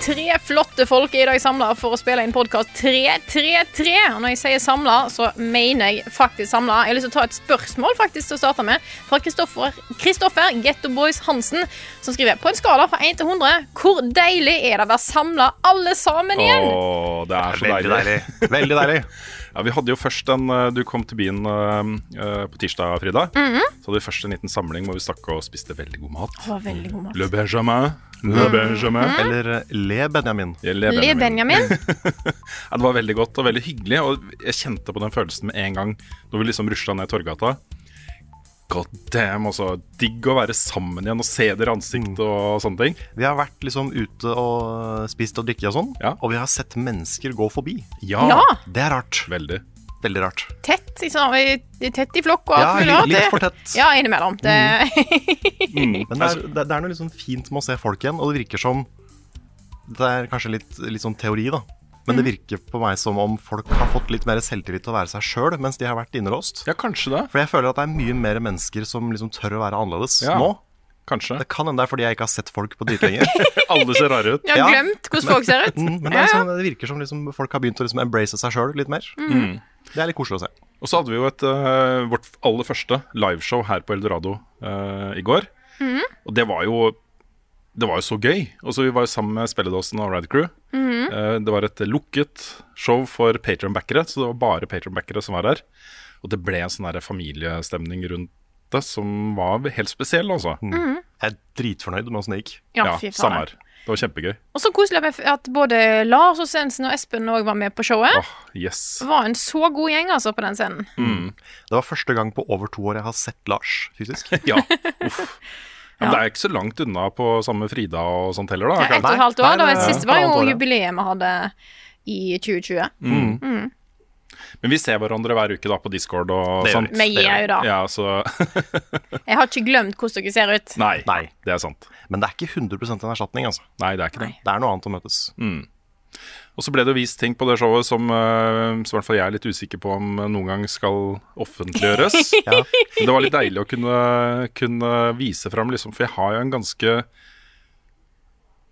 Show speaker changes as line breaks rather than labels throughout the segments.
Tre flotte folk er i dag samla for å spille inn podkast 333. Og når jeg sier samla, så mener jeg faktisk samla. Jeg har lyst til å ta et spørsmål faktisk til å starte med fra Kristoffer, Kristoffer Getto Boys Hansen, som skriver på en skala fra 1 til 100 hvor deilig er det å være samla alle sammen igjen?
Åh, det er så
Veldig deilig. Veldig deilig.
Ja, vi hadde jo først en eh, Du kom til byen eh, eh, på tirsdag, Frida.
Mhm.
Så hadde vi først en liten samling hvor vi stakk og spiste veldig god mat.
Å, veldig god mat.
Le Benjamin. Le Benjamin.
Eller eh, Le Benjamin.
Ja,
Le Mhm. Benjamin.
Ja, det var veldig godt og veldig hyggelig, og jeg kjente på den følelsen med en gang når vi liksom rusla ned Torgata. God damn, altså. Digg å være sammen igjen og se dere i ansikt og sånne ting.
Vi har vært liksom ute og spist og drikke og sånn,
Ja.
og vi har sett mennesker gå forbi.
Ja.
Ja,
Det er rart.
Veldig.
Veldig rart.
tett, i sånn- i- tett i flokk og
Ja,
alt mulig rart.
litt- litt for
Det-
tett. Mm.
Ja, innimellom. Det,
Men det
Altså,
er, det, det er noe liksom fint med å se folk igjen, og det virker som Det er kanskje litt, litt sånn teori, da. Men
Mm.
det virker på meg som om folk har fått litt mer selvtillit til å være seg sjøl mens de har vært innelåst.
Ja, kanskje det.
For jeg føler at det er mye mer mennesker som liksom tør å være annerledes
Ja.
nå.
Kanskje.
Det kan hende det er fordi jeg ikke har sett folk på dritlenge.
Alle ser rare ut.
jeg har glemt hvordan folk ser ut.
Mm, Men det,
Ja, ja.
er
Mm.
sånn, det virker som liksom, folk har begynt å liksom embrace seg sjøl litt mer.
Mm.
Det er litt koselig å se.
Og så hadde vi jo et, eh, vårt aller første liveshow her på Eldorado eh, i går.
Mhm.
Og det var jo Det var jo så gøy. Og så Vi var jo sammen med Spelledåsen og Rad Crew.
Mhm.
Eh, det var et lukket show for Patreon-backere, så det var bare Patreon-backere som var her. Og det ble en sånn der familiestemning rundt det som var helt spesiell, altså.
Mm. Jeg er dritfornøyd med åssen det gikk.
Ja, fy
samme
faen.
her. Det var kjempegøy.
Og så koselig med f- at både Lars og Sensen og Espen òg var med på showet.
Åh, yes.
Det var en så god gjeng altså på den scenen.
Det var første gang på over to år jeg har sett Lars fysisk.
Ja, uff. Ja, men Det er ikke så langt unna på samme Frida og sånt heller, da.
Det er ett og
akkurat.
et halvt
nei,
år. Det var
nei,
siste
nei,
var jo
halvannet år, ja. Mm.
jubileet vi hadde i 2020.
Men vi ser hverandre hver uke da på Discord og
Det gjør
sånt.
vi.
Vi gjør jo da.
Ja, så
Jeg har ikke glemt hvordan dere ser ut.
Nei,
Nei.
det er sant.
Men det er ikke 100 en erstatning, altså.
Nei, det er ikke det.
Det er noe annet å møtes.
Mm. Og så ble det jo vist ting på det showet som, eh, som i hvert fall jeg er litt usikker på om eh, noen gang skal offentliggjøres. Men det var litt deilig å kunne, kunne vise fram, liksom, for jeg har jo en ganske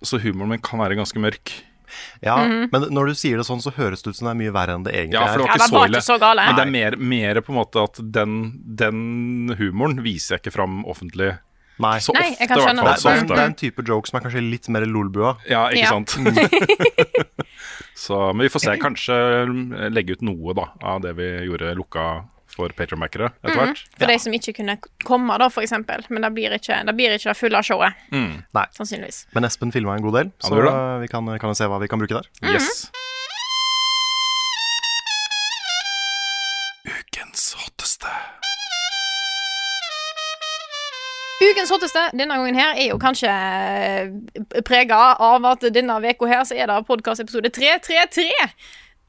Så humoren min kan være ganske mørk.
Ja, Men når du sier det sånn, så høres det ut som det er mye verre enn det egentlig
Mm-hmm. Ja, for det
Ja,
var
det
ikke
var
så
ikke
ille.
så gale.
Men det er mer, mer på en måte at den, den humoren viser jeg ikke fram offentlig.
er. Nei.
Så
Nei,
ofte,
jeg kan
i hvert
skjønne
fall.
det,
det.
Så
er, det,
ofte.
er, det er en type joke som er kanskje litt mer lolbua.
Ja, ikke
Ja.
sant? så, men vi får se. Kanskje eh, legge ut noe da, av det vi gjorde lukka for Patreon-backere etter hvert.
For de som ikke kunne komme, da, for eksempel. Men det blir ikke det, blir ikke det fulle showet,
Nei.
sannsynligvis.
Men Espen filma en god del,
Ja,
så eh,
det gjorde
vi kan, kan jo se hva vi kan bruke der.
Yes.
Mhm.
Ukens hotteste.
Ukens hotteste denne gangen her er jo kanskje prega av at denne veka her så er det podkastepisode 333.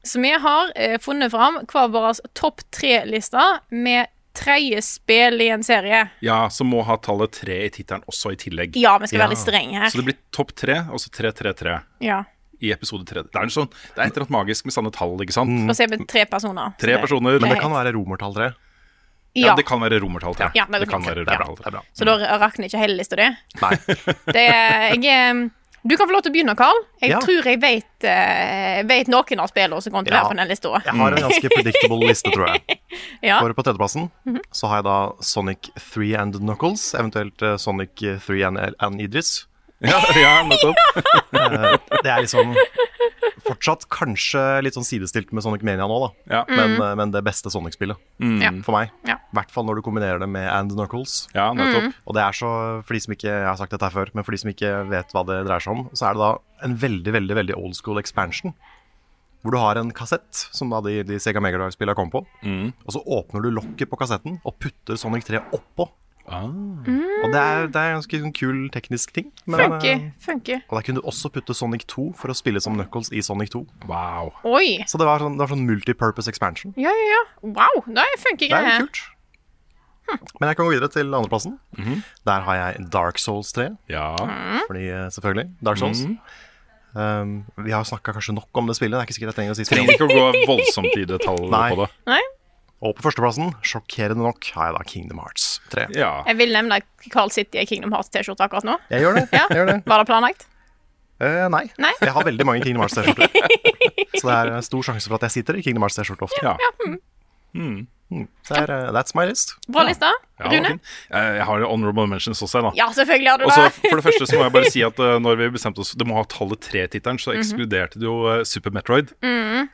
Så vi har eh, funnet fram hver vår topp tre-liste med tredje spill i en serie.
Ja, som må ha tallet tre i tittelen også i tillegg.
Ja, vi skal være litt strenge her.
Så det blir topp tre, og så 333
Ja.
i episode tre. Det er, en sånn, det er et eller annet magisk med sanne tall, ikke sant?
Og så er vi tre personer.
Tre personer.
Men det
Nei.
kan være romertall tre.
Ja,
Ja.
det kan være romertall tre.
Ja, det
det kan
kan
være
være- ja,
romertall
Det er bra.
Så da rakner ikke hele lista di.
Nei.
Det er- jeg er- Du kan få lov til å begynne, Carl. Jeg
Ja.
tror jeg vet, eh, vet noen av spillene som kommer til å
Ja.
være på den lista.
Jeg har en
Mm.
ganske predictable liste, tror jeg.
Ja.
For på tredjeplassen
Mm-hmm.
så har jeg da Sonic 3 and Knuckles, eventuelt eh, Sonic 3 and, and Idris.
Ja, ja, nettopp.
Det er liksom fortsatt kanskje litt sånn sidestilt med Sonic Mania nå, da.
Ja.
Mm.
Men, eh, men det beste Sonic-spillet
Ja.
for meg. I
Ja.
hvert fall når du kombinerer det med And Knuckles.
Ja, nettopp.
Og det er så, for de som ikke jeg har sagt dette her før, men for de som ikke vet hva det dreier seg om, så er det da en veldig, veldig veldig old school expansion. Hvor du har en kassett, som da de, de Sega Mega Drive-spillene kom på. Og så åpner du lokket på kassetten og putter Sonic 3 oppå. Og det er, det er en ganske sånn kul teknisk ting. men,
Mm. Funky.
eh,
Funky.
og der kunne du også putte Sonic 2 for å spille som Knuckles i Sonic 2.
Mm.
Wow.
Oi.
Så det var sånn, det var sånn multipurpose expansion.
Ja, ja, ja. Wow, det er funky
Det er
greier.
litt kult. Men jeg kan gå videre til andreplassen.
Mhm.
Der har jeg Dark Souls 3.
Ja.
Fordi, eh, selvfølgelig, Dark
Mhm.
Souls. Um, vi har snakka kanskje nok om det spillet. Det er ikke sikkert jeg trenger å si
Trenger
spillet.
ikke å gå voldsomt i detalj
Nei.
på det.
Nei?
Og på førsteplassen, sjokkerende nok, har jeg da Kingdom Hearts 3.
Ja.
Jeg vil nevne Carl City i Kingdom Hearts-T-skjorte akkurat nå.
Jeg gjør det.
Ja.
Jeg gjør det.
Var det planlagt?
Eh, nei.
Nei.
Jeg har veldig mange Kingdom Hearts-T-skjorter. Så det er eh, stor sjanse for at jeg sitter i Kingdom Hearts-T-skjorte ofte.
ja.
Mm. Så det er, eh, that's my list.
Bra liste.
Ja, det var
Rune?
fint. Eh, Jeg har honorable mentions også, jeg, da.
Ja, selvfølgelig har du
Og så
det.
For det første så må jeg bare si at eh, når vi bestemte oss Det må ha tallet tre-tittelen, så ekskluderte det jo eh, Super Metroid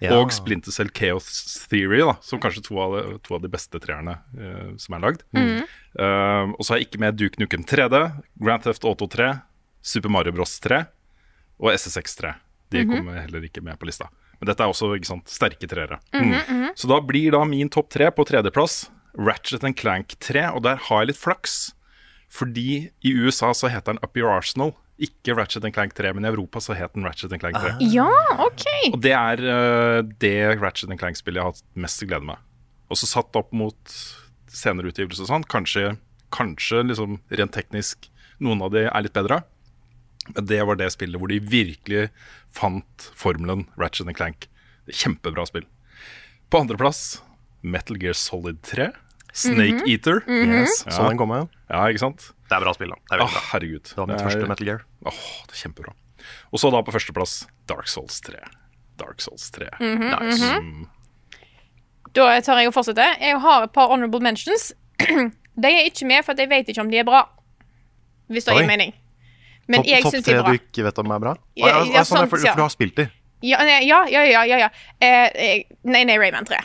Ja.
og Splinter Cell Chaos Theory, da, som kanskje to av, de- to av de beste treerne eh, som er lagd. Eh, og så er jeg ikke med Duke Nukem 3D, Grand Theft Auto 3, Super Mario Bros 3 og SSX 3. De kommer heller ikke med på lista. Men dette er også ikke sant, sterke treere. Så da blir da min topp tre på tredjeplass Ratchet and Clank 3, og der har jeg litt flaks. Fordi i USA så heter den Up Your Arsenal. Ikke Ratchet and Clank 3, men i Europa så het den Ratchet and Clank 3.
Ja, OK.
Og det er eh, det Ratchet and Clank-spillet jeg har hatt mest glede med. Og så satt opp mot senere utgivelse og sånn, kanskje, kanskje liksom rent teknisk noen av de er litt bedre. Men det var det spillet hvor de virkelig fant formelen Ratchet and Clank. Kjempebra spill. På andreplass Metal Gear Solid 3. Snake Eater.
Yes. Så
Ja.
den kommer.
Ja, ikke sant?
Det er bra spill, da. Det, er
Å,
veldig bra.
Ah, herregud.
det var mitt
Det er-
første Metal Gear.
Åh, det er kjempebra. Og så da på førsteplass Dark Souls 3. Dark Souls 3.
nice.
Da tar jeg og fortsetter. Jeg har et par honorable mentions. De er ikke med, for at jeg vet ikke om de er bra. Hvis det
Oi.
gir mening. Men
Topp-
jeg
topp
syns de
tre
er bra.
du ikke vet om er bra?
Ja,
Å, ja,
ja,
ja, sånn,
sant,
for,
ja.
for du har spilt de?
Ja, nei, ja, ja, ja. ja, ja. Eh, eh, nei, nei, Rayman 3.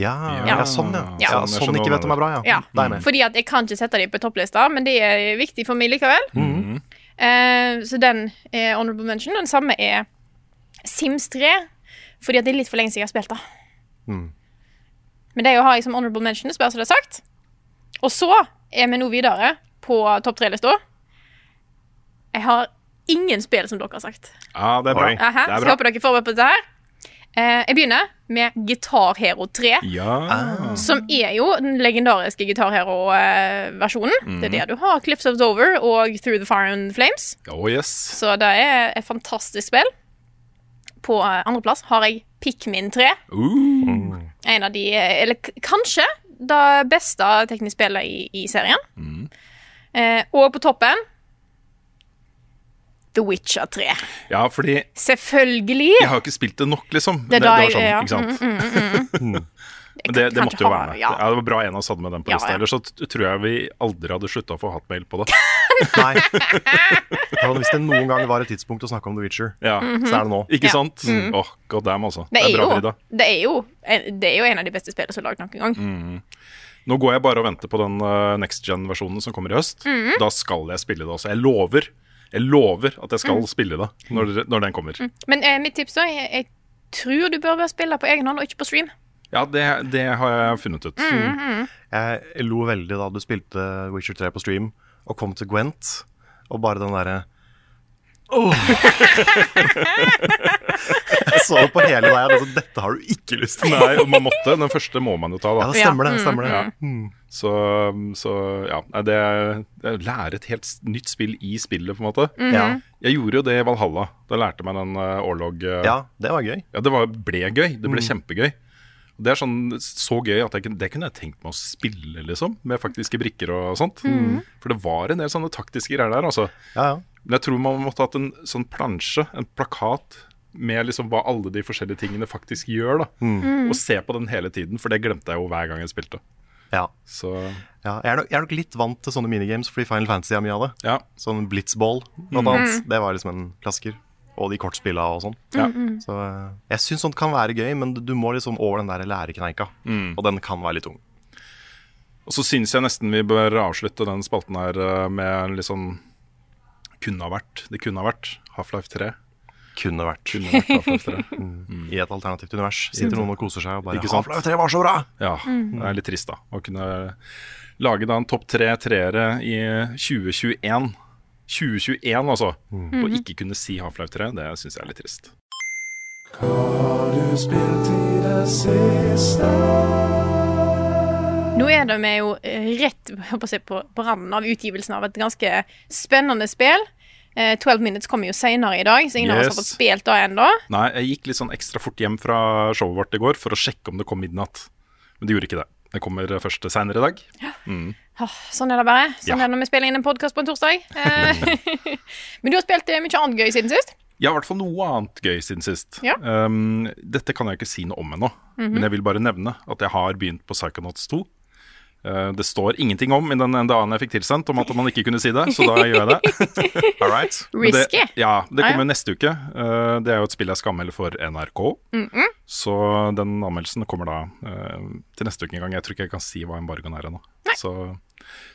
Ja, ja.
Ja.
sånn,
Ja.
ja. ja
Sånn, jeg
sånn
skjønner
ikke
hva
vet om er bra, ja.
Mm.
Ja.
Det er jeg med.
Fordi at jeg kan ikke sette de på topplista, men det er viktig for meg likevel.
Mm.
Eh, så den er honorable mention. Den samme er Sims 3, fordi at det er litt for lenge siden jeg har spilt det.
Mm.
Men det har jeg som liksom honorable mention, det spørs om det er sagt. Og så er vi nå videre på topp tre-lista. Jeg har ingen spill som dere har sagt.
Ja, det er bra.
Oi.
Aha, så
Det er bra.
håper dere er forberedt på dette her. Eh, jeg begynner med Gitar Hero 3.
Ja.
Som er jo den legendariske Guitar Hero-versjonen. Det er der du har Cliffs of Dover og Through the Fire and Flames.
Oh yes.
Så det er et fantastisk spill. På eh, andreplass har jeg Pikmin 3.
Uh.
En av de eh, Eller k- kanskje det beste tekniske spillet i, i serien. Eh, og på toppen The Witcher 3.
Ja, fordi
Selvfølgelig!
jeg har jo ikke spilt det nok, liksom.
Det er
Det, det,
da
var
jeg- ja. Mm,
sånn, ikke sant? Mm. Men det, det
Kanskje
måtte jo
har-
være med.
ja.
Ja, det var bra en av oss hadde med den på
Ja,
lista,
ja.
ellers så t- tror jeg vi aldri hadde slutta å få hatmail på det.
Nei. Hvordan, hvis det noen gang var et tidspunkt å snakke om The Witcher,
Ja.
Mhm.
så er det nå.
Ikke sant? Åh, god damn, altså.
Mm. Det er,
bra,
jo,
Frida.
det, er jo, en- det er jo en av de beste spillene som er lagd noen gang.
Nå går jeg bare og venter på den eh, next gen-versjonen som kommer i høst.
Mhm.
Da skal jeg spille det også. Jeg lover. Jeg lover at jeg skal
Mm.
spille det når, det- når den kommer.
Men eh, mitt tips da er jeg tror du bør bare spille på egen hånd og ikke på stream.
Ja, det, det har jeg funnet
Mm.
ut.
Jeg lo veldig da du spilte Witcher 3 på stream og kom til Gwent, og bare den derre Åh. Jeg så det på hele deg. Altså, dette har du ikke lyst til.
Nei, og man måtte. Den første må man jo ta,
Ja,
da.
det stemmer, det. stemmer det.
Mhm,
Så, så ja. Nei, Det er det er å lære et helt s- nytt spill i spillet, på en måte.
Ja.
mhm.
Jeg gjorde jo det i Valhalla. Da lærte jeg meg den eh, årlog... eh,
ja, Mm. det var gøy.
Ja, det var, ble gøy. Det ble kjempegøy. Og Det er sånn, så gøy at jeg, kunne- det kunne jeg tenkt meg å spille, liksom. Med faktiske brikker og sånt.
Mm.
For det var en del sånne taktiske greier der, altså.
Ja, ja.
Men jeg tror man måtte hatt en sånn plansje, en plakat, med liksom hva alle de forskjellige tingene faktisk gjør, da. Og se på den hele tiden, for det glemte jeg jo hver gang jeg spilte.
ja.
Så
ja. Jeg, er nok, jeg er nok litt vant til sånne minigames fordi Final Fantasy er mye av det.
ja.
Mm. Sånn blitzball, blant annet. Det var liksom en klassiker. og de kortspilla og sånn.
Ja.
Så eh, jeg syns sånt kan være gøy, men du må liksom over den der lærekneika.
Mm.
Og den kan være litt tung.
Og så syns jeg nesten vi bør avslutte den spalten her eh, med en litt sånn Kunne ha vært. Det kunne ha vært Half-Life 3.
Kunne vært.
Kunne vært Half-Life 3.
I et alternativt univers sitter noen og koser seg og bare
Ikke sant?
Half-Life 3 var så bra!
Ja, det er litt trist da Å kunne lage da en topp tre treere i 2021 2021 altså Og ikke kunne si Half-Life 3 Det synes jeg er litt trist
Nå er det vi jo eh, rett jeg holdt på å si, på randen av utgivelsen av et ganske spennende spill. Eh, 12 Minutes kommer jo senere i dag, så ingen av oss
Yes.
har fått spilt det ennå.
Nei, jeg gikk litt sånn ekstra fort hjem fra showet vårt i går For å sjekke om det kom midnatt Men det gjorde ikke det Det kommer først senere i dag
Åh, Sånn er det bare. Sånn
Ja.
er det når vi spiller inn en podkast på en torsdag. Eh, Men du har spilt eh, mye annet gøy siden sist.
Jeg har i hvert fall noe annet gøy siden sist
Ja. Mhm.
um, Dette kan jeg ikke si noe om ennå Men jeg vil bare nevne at jeg har begynt på Psychonauts 2 Eh, det står ingenting om i den NDA-en jeg fikk tilsendt Om at man ikke kunne si det, så da gjør jeg det
All right.
Men det-
Risky.
Ja, det
Ah, ja.
kommer neste uke. Eh, det er jo et spill jeg skal anmelde for NRK.
Mhm.
Så den anmeldelsen kommer da eh, til neste uke en gang. Jeg tror ikke jeg kan si hva embargoen er ennå. Så,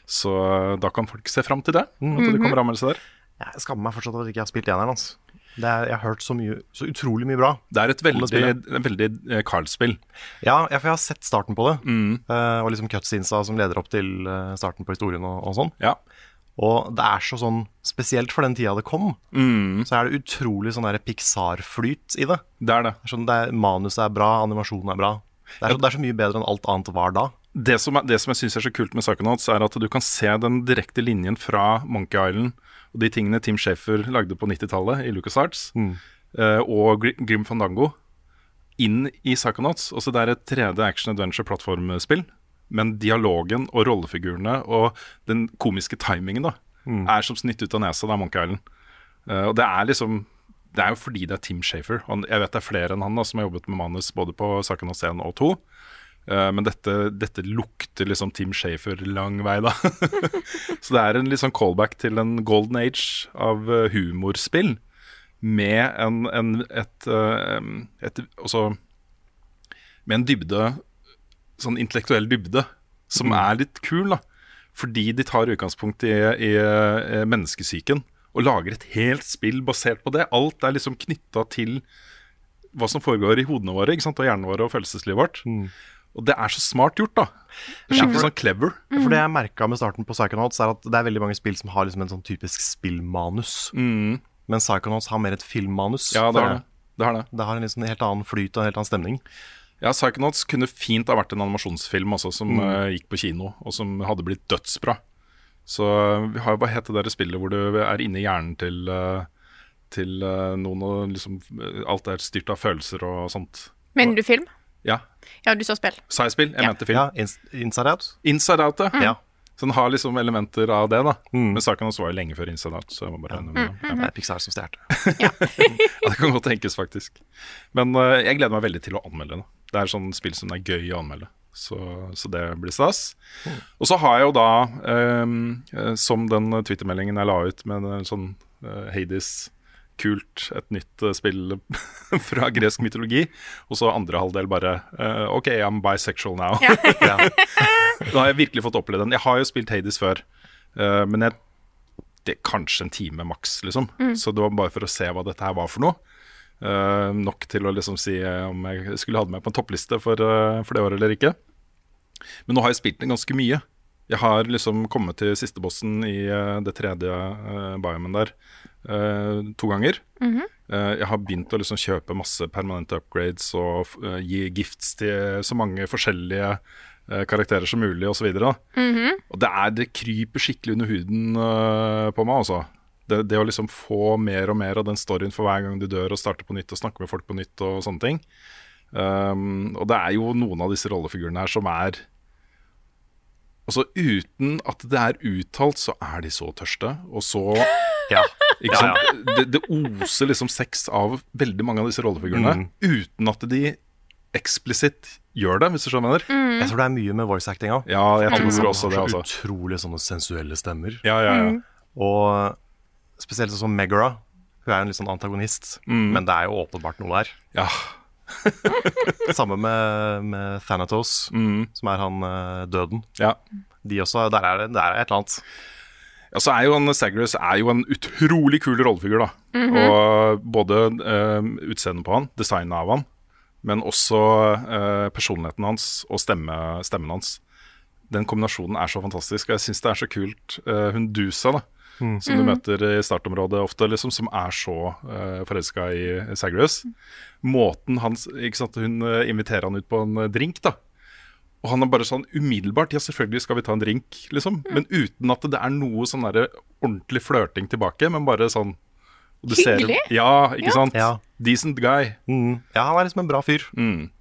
så eh, da kan folk se fram til det. At
Mhm.
det kommer anmeldelse der.
Jeg skammer meg fortsatt over at jeg ikke har spilt eneren hans. Det er, jeg har hørt så, mye, så utrolig mye bra.
Det er et
Om det
veldig, en veldig eh, Carl-spill.
Ja, ja, for jeg har sett starten på det.
Mm.
eh, og liksom cutscenesa som leder opp til eh, starten på historien og, og sånn.
Ja.
Og det er så sånn, spesielt for den tida det kom,
Mm.
så er det utrolig sånn der Pixar-flyt i det.
Det er det.
Det er sånn, det er, manuset er bra, animasjonen er bra. Det er, så, det er så mye bedre enn alt annet var da.
Det som, er, det som jeg syns er så kult med Psychonauts, er at du kan se den direkte linjen fra Monkey Island og de tingene Tim Schafer lagde på 90-tallet i LucasArts eh, og Gr- Grim Fandango, inn i Psychonauts. Altså det er et 3D action adventure-plattformspill, men dialogen og rollefigurene og den komiske timingen da, er som snytt ut av nesa. Det er Monkey Island. Eh, og det er liksom Det er jo fordi det er Tim Shafer. Han, jeg vet det er flere enn han da, som har jobbet med manus både på Psychonauts 1 og 2. Eh, Men dette, dette lukter liksom Tim Shafer lang vei, da. Så det er en litt sånn callback til en golden age av eh, humorspill. Med en, en et, eh, et Altså Med en dybde Sånn intellektuell dybde som er litt kul, da. Fordi de tar utgangspunkt i, i, eh, menneskesyken og lager et helt spill basert på det. Alt er liksom knytta til hva som foregår i hodene våre ikke sant? og hjernen vår og følelseslivet vårt. Og det er så smart gjort, da. Det er Skikkelig sånn clever.
For det jeg merka med starten på Psychonauts, er at det er veldig mange spill som har liksom en sånn typisk spillmanus. Men Psychonauts har mer et filmmanus.
Mm. Ja, det
føler
har det.
jeg.
det, har det.
Det har en liksom helt annen flyt og en helt annen stemning.
Ja, Psychonauts kunne fint ha vært en animasjonsfilm altså, som eh, gikk på kino, og som hadde blitt dødsbra. Så eh, vi har jo Hva heter det der spillet hvor du er inni hjernen til, eh, til eh, noen og liksom eh, Alt er styrt av følelser og sånt.
Mener du film?
Ja.
Ja, du sa spill.
Sa jeg spill? Jeg mente film.
Ja, Mm. ins- Inside Out.
Inside Out, ja.
Ja.
Så den har liksom elementer av det, da. Men Psychonauts var jo lenge før Inside Out, så jeg må bare regne med det. Mm. Ja.
Det er Pixar som stjal det.
Ja, det kan godt tenkes, faktisk. Men eh, jeg gleder meg veldig til å anmelde det. Det er sånn spill som det er gøy å anmelde. Så, så det blir stas. Og så har jeg jo da, ehm, eh, som den Twitter-meldingen jeg la ut med en sånn eh, Hades Kult, et nytt eh, spill fra gresk mytologi. Og så andre halvdel bare eh, OK, I'm bisexual now. Da har jeg virkelig fått oppleve den. Jeg har jo spilt Hades før, eh, men jeg det er kanskje en time maks, liksom. Så det var bare for å se hva dette her var for noe. Eh, nok til å liksom si eh, om jeg skulle ha det med på en toppliste for, eh, for det året eller ikke. Men nå har jeg spilt den ganske mye. Jeg har liksom kommet til siste bossen i eh, det tredje uh, biomen der eh, to ganger. Eh, jeg har begynt å liksom kjøpe masse permanente upgrades og eh, gi gifts til så mange forskjellige eh, karakterer som mulig osv. Mm Og det, er, det kryper skikkelig under huden eh, på meg, altså. Det, det å liksom få mer og mer av den storyen for hver gang du dør og starter på nytt og snakker med folk på nytt og sånne ting. Um, og det er jo noen av disse rollefigurene her som er Altså uten at det er uttalt, så er de så tørste, og så
Ja.
ikke sant? Det, det oser liksom sex av veldig mange av disse
Mm.
rollefigurene, uten at de eksplisitt gjør det, hvis du skjønner hva jeg mener.
Jeg tror det er mye med voice acting òg.
Ja, jeg
Mm.
tror også det,
så
altså.
utrolig sånne sensuelle stemmer.
Ja, ja, ja.
Og spesielt sånn som Megara. Hun er jo en litt sånn antagonist, men det er jo åpenbart noe der.
Ja.
Samme med, med Thanatos, som er han eh, døden.
ja.
De også, der er det der er et eller annet.
Ja, så er jo han Sagres er jo en utrolig kul rollefigur, da. Og både eh, utseendet på han, designet av han, men også eh, personligheten hans og stemme, stemmen hans. Den kombinasjonen er så fantastisk, og jeg syns det er så kult. eh, hun Dusa, da,
Mm.
som du møter i startområdet ofte, liksom, som er så uh, forelska i Sagres. Måten hans ikke sant, Hun eh, inviterer han ut på en eh, drink, da. Og han er bare sånn umiddelbart Ja, selvfølgelig skal vi ta en drink, liksom. Men uten at det er noe sånn derre ordentlig flørting tilbake, men bare sånn og du
Hyggelig.
ja, ikke sant?
Ja.
Decent guy.
Mm. Ja, han er liksom en bra fyr.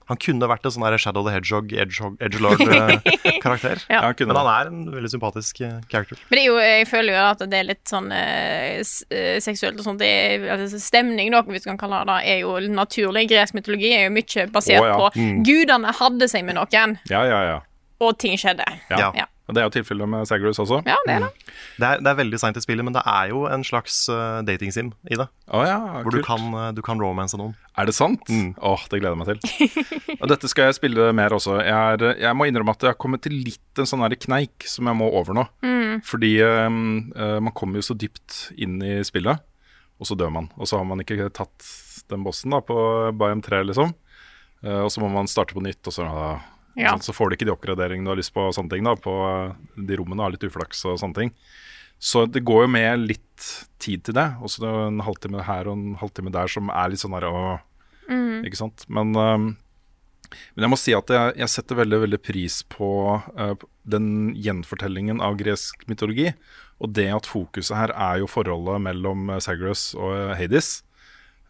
Han kunne vært en sånn der Shadow the Hedgehog, Edgehog, Edgelord-karakter.
Ja.
Ja, han kunne
Men han
det.
er en veldig sympatisk eh, character.
Men det er jo, jeg føler jo at det er litt sånn eh, s- eh, seksuelt og sånt. Det er, altså, stemning, da, hvis du kan kalle det det, er jo naturlig. Gresk mytologi er jo mye basert
Å, ja. Mm.
på gudene hadde seg med noen,
Ja, ja, ja.
og ting skjedde.
Ja.
Ja,
Og det er jo tilfellet med Sagrus også.
ja det er
Mm.
det.
Det er, det er veldig seint i spillet, men det er jo en slags eh, dating-sim i det.
Å ja,
Hvor du
kult.
kan, Mm. eh, du kan romance noen.
Er det sant? Åh, det gleder jeg meg til. Og dette skal jeg spille mer også. Jeg, er, jeg må innrømme at jeg har kommet til litt en sånn her kneik som jeg må over nå. Fordi øhm, øh, man kommer jo så dypt inn i spillet, og så dør man. Og så har man ikke tatt den bossen da på Biome 3, liksom. Eh, og så må man starte på nytt, og så, ja,
Ja.
så får du ikke de oppgraderingene du har lyst på, og sånne ting da, på eh, de rommene. Har litt uflaks og sånne ting. Så det går jo med litt tid til det. Og så det er en halvtime her og en halvtime der som er litt sånn der åh, Ikke sant? Men, um, øhm, men jeg må si at jeg, jeg setter veldig, veldig pris på øh, den gjenfortellingen av gresk mytologi. Og det at fokuset her er jo forholdet mellom uh, Sagrus og eh, Hades.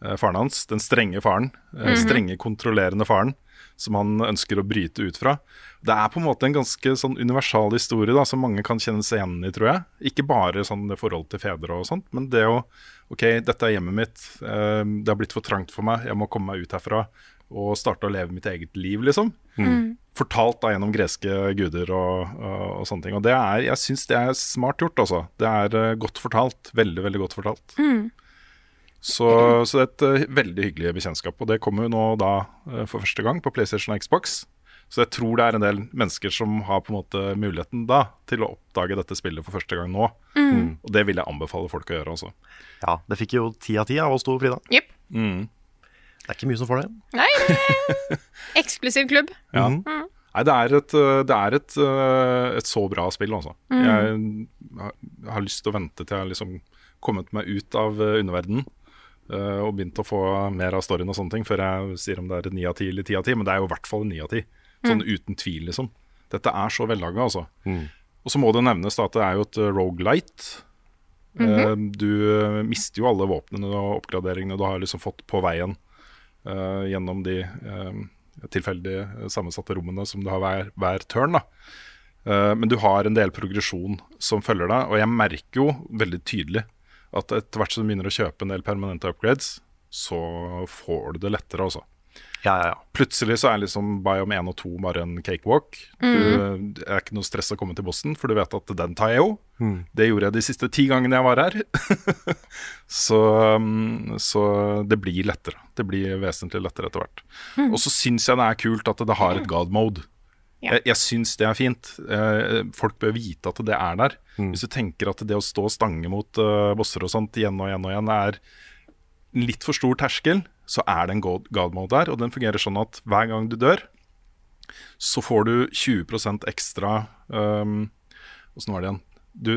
eh, faren hans, den strenge faren. eh, Strenge, kontrollerende faren. Som han ønsker å bryte ut fra. Det er på en måte en ganske sånn universal historie da, som mange kan kjenne seg igjen i, tror jeg. Ikke bare sånn det forholdet til fedre og sånt, men det å OK, dette er hjemmet mitt. eh, det har blitt for trangt for meg. Jeg må komme meg ut herfra og starte å leve mitt eget liv, liksom. Fortalt da gjennom greske guder og, og, og sånne ting. Og det er, jeg syns det er smart gjort, altså. Det er eh, godt fortalt. Veldig, veldig godt fortalt. Så, så det er et eh, veldig hyggelig bekjentskap. Og det kommer jo nå da eh, for første gang på PlayStation og Xbox. Så jeg tror det er en del mennesker som har på en måte muligheten da til å oppdage dette spillet for første gang nå. Og det vil jeg anbefale folk å gjøre også.
Ja, det fikk jo ti av ti av oss to, Frida.
Jepp.
Det er ikke mye som får det.
Nei, det er eksklusiv klubb.
Ja. Nei, det er, et, eh, det er et, eh, et så bra spill, altså. Jeg har- har lyst til å vente til jeg har liksom kommet meg ut av eh, underverdenen eh, og begynt å få mer av storyen og sånne ting, før jeg sier om det er ni av ti eller ti av ti. Men det er jo i hvert fall ni av ti. Sånn uten tvil, liksom. Dette er så vellaga, altså. Og så må det nevnes da at det er jo et rogelight. Du eh, mister jo alle våpnene og oppgraderingene du har liksom fått på veien eh, gjennom de eh, tilfeldig sammensatte rommene som du har hver, hver turn. Da. Eh, men du har en del progresjon som følger deg, og jeg merker jo veldig tydelig at etter hvert som du begynner å kjøpe en del permanente upgrades, så får du det lettere, altså.
Ja, ja, ja.
Plutselig så er liksom Biome 1 og 2 bare en cakewalk. Du, det er ikke noe stress å komme til bossen, for du vet at den tar jeg jo. Det gjorde jeg de siste ti gangene jeg var her. så, um, så det blir lettere. Det blir vesentlig lettere etter hvert. Og så syns jeg det er kult at det har et god mode.
Ja.
Jeg, jeg syns det er fint. Eh, folk bør vite at det er der. Hvis du tenker at det å stå og stange mot eh, bosser og sånt igjen og igjen og igjen er litt for stor terskel, så er det en god, god mode der. Og den fungerer sånn at hver gang du dør, så får du 20 ekstra um, Åssen var det igjen? Du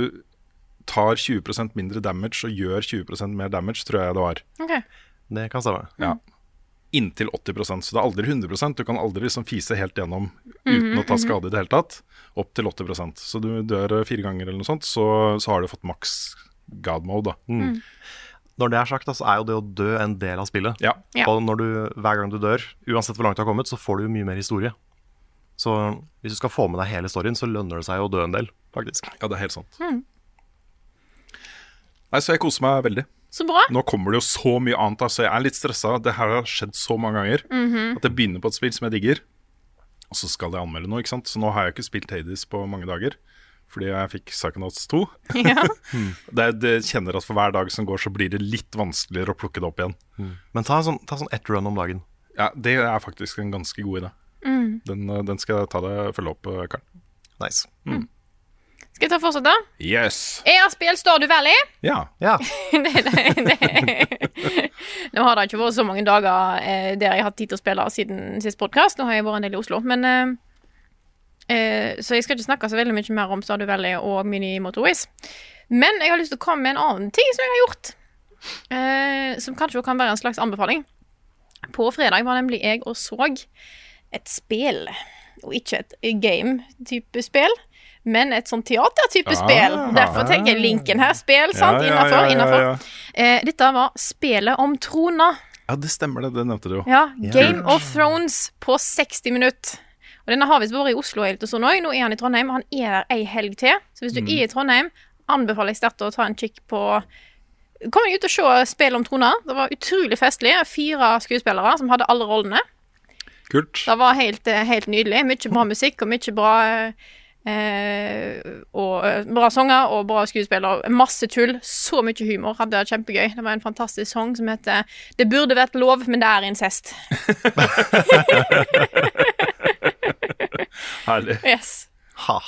tar 20 mindre damage og gjør 20 mer damage, tror jeg det var.
Ok.
Det kan stemme.
Ja. Inntil 80 så det er aldri 100 Du kan aldri liksom fise helt gjennom uten å ta skade i det hele tatt. Opp til 80 Så du dør eh, fire ganger eller noe sånt, så, så har du fått maks god mode, da.
Når det er sagt, da, så er jo det å dø en del av spillet.
Ja.
Ja.
Og når du, hver gang du dør, uansett hvor langt du har kommet, så får du jo mye mer historie. Så hvis du skal få med deg hele storyen, så lønner det seg å dø en del, faktisk.
Ja, det er helt sant. Nei, Så jeg koser meg veldig.
Så bra.
Nå kommer det jo så mye annet, da, så jeg er litt stressa. Det her har skjedd så mange ganger. At jeg begynner på et spill som jeg digger, og så skal jeg anmelde noe. ikke sant? Så nå har jeg ikke spilt Hades på mange dager. fordi jeg fikk Psychonauts 2.
Ja.
Det, det kjenner at for hver dag som går, så blir det litt vanskeligere å plukke det opp igjen.
Men ta sånn, ta sånn ett run om dagen.
Ja, Det er faktisk en ganske god idé. Den, eh, den skal jeg ta deg følge opp, eh, Karen.
Nice.
Skal jeg ta fortsatt, da? Eh.
Yes!
ER-spill Stardew Valley.
Ja.
Ja.
det, det, det. Nå har det ikke vært så mange dager eh, der jeg har hatt tid til å spille siden sist podkast. Nå har jeg vært en del i Oslo. Men, eh, eh, så jeg skal ikke snakke så veldig mye mer om Stadio Valley og Mini Motorways. Men jeg har lyst til å komme med en annen ting som jeg har gjort. Eh, som kanskje også kan være en slags anbefaling. På fredag var nemlig jeg og så et spill. Og ikke et game-type spill, men et sånn teater-type spill.
Ah.
Derfor tenker jeg linken her. Spill,
Ja,
sant?
ja,
Innafor.
ja, ja, ja.
Eh, dette var spelet om trona.
ja, det stemmer det. Det nevnte du jo.
Ja, Game of Thrones på 60 minutter. Og Denne har visst vært i Oslo helt og sånn også. Nå er han i Trondheim, og han er der ei helg til. Så
Mm.
hvis du er i Trondheim, anbefaler jeg sterkt å ta en kikk på Kom deg ut og se Spel om trona. Det var utrolig festlig. Fire skuespillere som hadde alle rollene.
Kult.
Det var helt, eh, helt nydelig. Mye bra musikk og mye bra eh, og eh, Bra sanger og bra skuespillere. Masse tull. Så mye humor. Hadde det kjempegøy. Det var en fantastisk sang som heter 'Det burde vært lov, men det er incest'.
Herlig.
Yes.
Ha.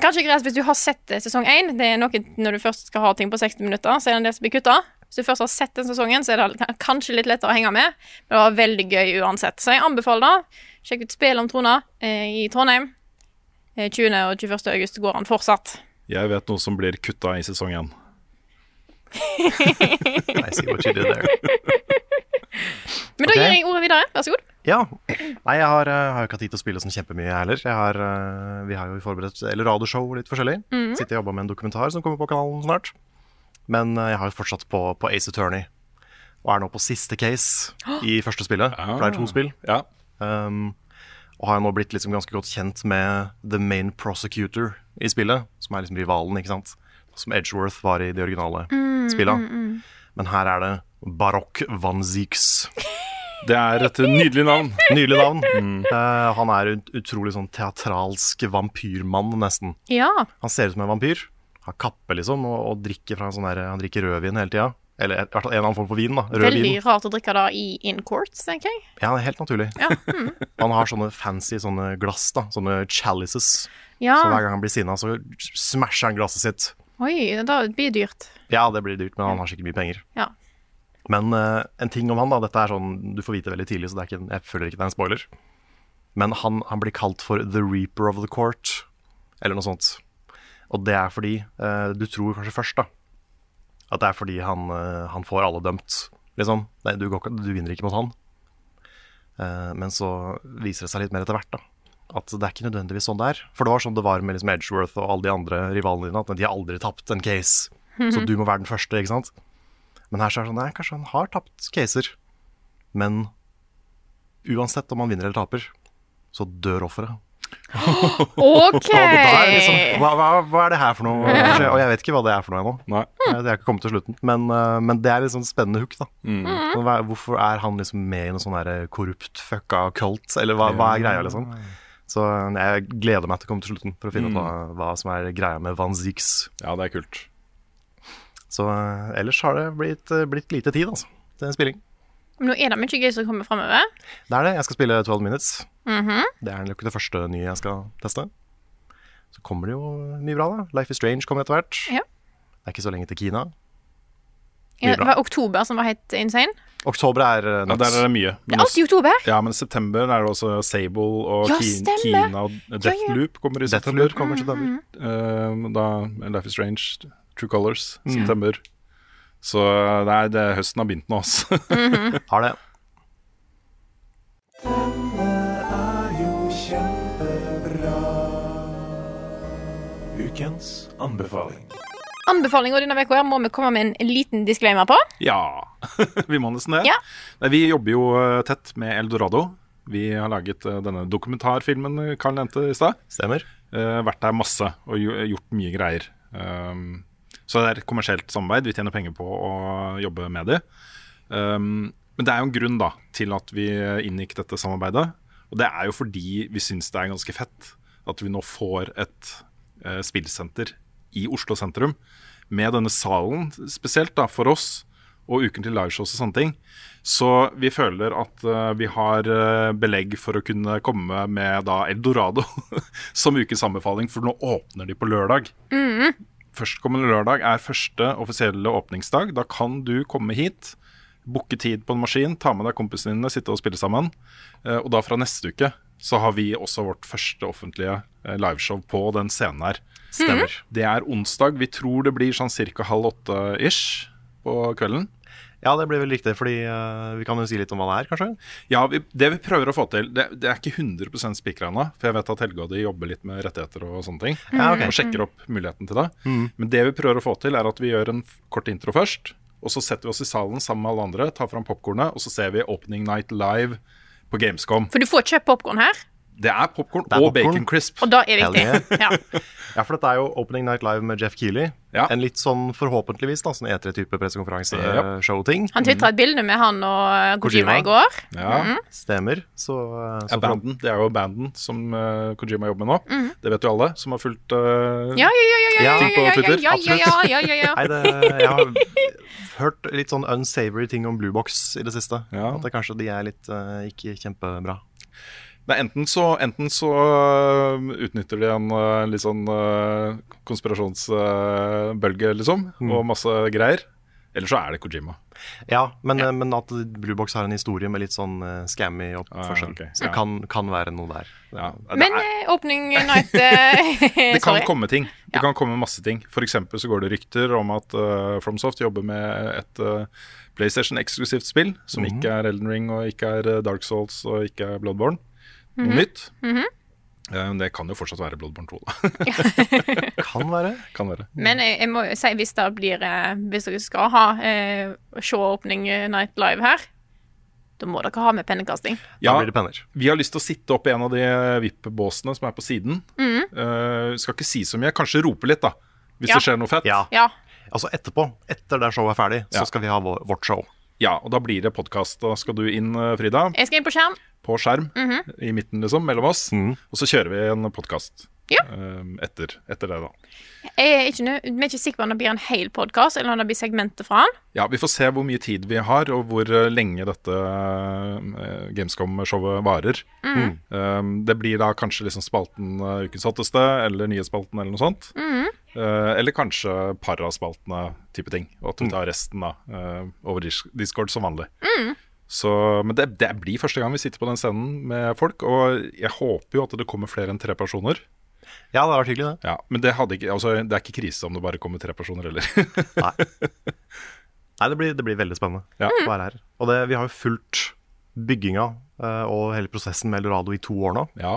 Kanskje greit hvis du har sett eh, sesong én. Det er noe når du først skal ha ting på 60 minutter, så er det en del som blir kutta. Hvis du først har sett den sesongen, så er det litt- kanskje litt lettere å henge med. Men det var veldig gøy uansett. Så jeg anbefaler det. Sjekk ut Spel om trona eh, i Trondheim. Eh, 20. og 21. august går han fortsatt.
Jeg vet noe som blir kutta i sesong én.
I see what you did there.
Men
Ok.
da gir jeg ordet videre. Vær så god.
Ja. Nei, jeg har, eh, har jo ikke hatt tid til å spille sånn kjempemye, jeg heller. Jeg har, eh, vi har jo forberedt eller radioshow og litt forskjellig. Sitter og jobber med en dokumentar som kommer på kanalen snart. Men eh, jeg har jo fortsatt på, på Ace Attorney. Og er nå på siste case i første spillet. For det er to spill.
Ja.
Um, og har jo nå blitt liksom ganske godt kjent med the main prosecutor i spillet, som er liksom rivalen, ikke sant? Som Edgeworth var i de originale spillene. Men her er det Barokk Van Zieks.
Det er et nydelig navn.
Nydelig navn. Eh, han er en utrolig sånn teatralsk vampyrmann, nesten.
Ja.
Han ser ut som en vampyr. Har kappe, liksom, og, og drikker fra en sånn der, han drikker rødvin hele tida. Eller i hvert fall en eller annen form for vin, da. Rød
Veldig
vin.
rart å drikke det i in court, tenker jeg.
Ja, det er helt naturlig. Han har sånne fancy sånne glass, da. Sånne chalices.
Ja.
Så hver gang han blir sinna, så smasher han glasset sitt.
Oi, det blir dyrt.
Ja, det blir dyrt, men han har sikkert mye penger.
Ja.
Men eh, en ting om han, da. Dette er sånn du får vite veldig tidlig, så det er ikke, en- jeg føler ikke det er en spoiler. Men han, han blir kalt for The Reaper of the Court, eller noe sånt. Og det er fordi eh, Du tror kanskje først, da, at det er fordi han, eh, han får alle dømt, liksom. Nei, du, går, ikke- du vinner ikke mot han. Eh, men så viser det seg litt mer etter hvert, da. At det er ikke nødvendigvis sånn det er. For det var sånn det var med liksom Edgeworth og alle de andre rivalene dine, at de har aldri tapt en case. Så du må være den første, ikke sant. Men her så er det sånn, nei, kanskje han har tapt caser. Men uansett om han vinner eller taper, så dør offeret.
OK!
Og det der, liksom, hva, hva, hva er det her for noe? Hm. Og jeg vet ikke hva det er for noe ennå.
Nei.
Jeg har ikke kommet til slutten, men, eh, men det er litt sånn spennende hook, da. Sånn, hva- Hvorfor er han liksom med i noe sånn der korrupt fucka kult, eller hva, hva er greia, liksom? Så eh, jeg gleder meg til å komme til slutten for å finne ut hva, hva som er greia med Van Zieks.
Ja, det er kult.
Så eh, ellers har det blitt, eh, blitt lite tid, altså, til spilling.
Men Nå er det mye gøy som kommer framover.
Det er det. Jeg skal spille 12 Minutes.
Mm-hmm.
Det er nok det første nye jeg skal teste. Så kommer det jo mye bra, da. Life is Strange kommer etter hvert.
Ja.
Det er ikke så lenge til Kina. Mye
Det
bra.
var Eh, oktober som var helt insane.
Oktober er eh,
Ja,
nuts.
der er det mye.
Det
Men
er
også,
alltid i oktober.
ja, men september er det også Sable og
Ja,
Ki-
stemmer.
Kina og Deathloop kommer i september.
Deathloop kommer til september.
Eh, da Life is Strange, True Colors, september. Så eh, nei, det, høsten har begynt nå, altså.
Har det.
Ukens anbefaling.
Anbefalinga denne uka må vi komme med en liten disclaimer på.
Ja, vi må nesten det.
Ja.
Nei, vi jobber jo eh, tett med Eldorado. Vi har laget eh, denne dokumentarfilmen eh, Karl nevnte i stad.
Stemmer.
Eh, vært der masse og jo- gjort mye greier. Um, så det er et kommersielt samarbeid. Vi tjener penger på å jobbe med det. Um, men det er jo en grunn da til at vi eh, inngikk dette samarbeidet. Og det er jo fordi vi syns det er ganske fett at vi nå får et eh, spillsenter i Oslo sentrum. Med denne salen spesielt, da, for oss, og uken til liveshows og sånne ting. Så vi føler at eh, vi har eh, belegg for å kunne komme med da Eldorado som ukens anbefaling, for nå åpner de på lørdag. Førstkommende lørdag er første offisielle åpningsdag. Da kan du komme hit, booke tid på en maskin, ta med deg kompisene dine, sitte og spille sammen. Eh, Og da fra neste uke så har vi også vårt første offentlige eh, liveshow på den scenen her.
Mm-hmm.
Stemmer. Det er onsdag. Vi tror det blir sånn ca. halv åtte-ish på kvelden.
Ja, det blir vel riktig, fordi eh, vi kan jo si litt om hva det er, kanskje?
Ja, vi, Det vi prøver å få til Det, det er ikke 100 spikra ennå, for jeg vet at Helge og de jobber litt med rettigheter og sånne ting.
Ja, ok.
Og sjekker opp muligheten til det. Men det vi prøver å få til, er at vi gjør en f- kort intro først. Og så setter vi oss i salen sammen med alle andre, tar fram popkornet, og så ser vi Opening Night Live på Gamescom.
For du får kjøpt popkorn her,
Det er popkorn
er
og
popcorn.
bacon crisp.
og da er det
Hell
viktig. Ja.
Ja, for dette er jo Opening Night Live med Jeff Keeley.
Ja.
En litt sånn forhåpentligvis da, sånn E3-type eh,
Ja.
pressekonferanse-show-ting.
Han twitra et bilde med han og eh, Kojima
Kojima.
i går.
Ja.
Mm.
Stemmer. Så, eh,
Ja,
så for-
banden, det er jo banden som eh, Kojima jobber med nå. Det vet jo alle som har fulgt eh,
Mm. Ja, ja, ja, ja, ja,
Ja,
ja,
ting
ja,
på
ja,
Twitter,
ja, ja, ja, ja, ja, ja.
Nei, det, jeg har hørt litt sånn unsavory ting om Blue Box i det siste.
Ja.
At det kanskje de er litt eh, ikke kjempebra.
Nei, enten så, enten så øh, utnytter de en øh, litt sånn konspirasjonsbølge, liksom, og masse greier. Eller så er det Kojima.
Ja, men, eh, men at Blue Box har en historie med litt sånn eh, scammy oppførsel.
Ah, ok.
Så det
Ja.
kan, kan være noe der.
Ja, det,
Men
er,
eh, opening night eh,
det kan
Sorry.
komme ting. Det
Ja.
kan komme masse ting. For eksempel så går det rykter om at øh, FromSoft jobber med et øh, PlayStation-eksklusivt spill, som ikke er Elden Ring og ikke er øh, Dark Souls og ikke er Bloodborne.
Mhm.
Noe nytt. Eh, men det kan jo fortsatt være Bloodborne 2, da.
Kan være.
kan være.
Men jeg, jeg må jo si, hvis det blir eh, Hvis dere skal ha eh, show-opening night live her, da må dere ha med pennekasting.
Da
Ja.
blir det penner.
Vi har lyst til å sitte opp i en av de VIP-båsene som er på siden. Eh, skal ikke si så mye. Kanskje rope litt, da. Hvis
Mm. Ja.
det skjer noe fett.
Ja.
Ja.
Altså etterpå, etter det showet er ferdig,
Ja.
så skal vi ha vår, vårt show.
Ja, og da blir det podkast. Da skal du inn, eh, Frida,
Jeg skal inn på skjerm.
på skjerm
Mhm.
i midten, liksom, mellom oss. Og så kjører vi en podkast
Ja.
etter, etter det, da.
Jeg er ikke, nø- vi er ikke sikre på om det blir en hel podkast, eller om det blir segmenter fra den.
Ja, Vi får se hvor mye tid vi har, og hvor eh, lenge dette eh, Gamescom-showet varer. Um, det blir da kanskje liksom spalten eh, Ukens hotteste eller Nyhetsspalten eller noe sånt. Eh, eller kanskje paraspaltene type ting. Og at vi tar resten da eh, over dis- Discord som vanlig. Så, men det, det blir første gang vi sitter på den scenen med folk. Og jeg håper jo at det kommer flere enn tre personer.
Ja, det har vært hyggelig, det.
Ja, Men det, hadde ikke, altså, det er ikke krise om det bare kommer tre personer heller.
Nei, Nei det, blir, det blir veldig spennende
Ja.
å være her. Og det, vi har jo fulgt bygginga eh, og hele prosessen med Eldorado i to år nå.
ja.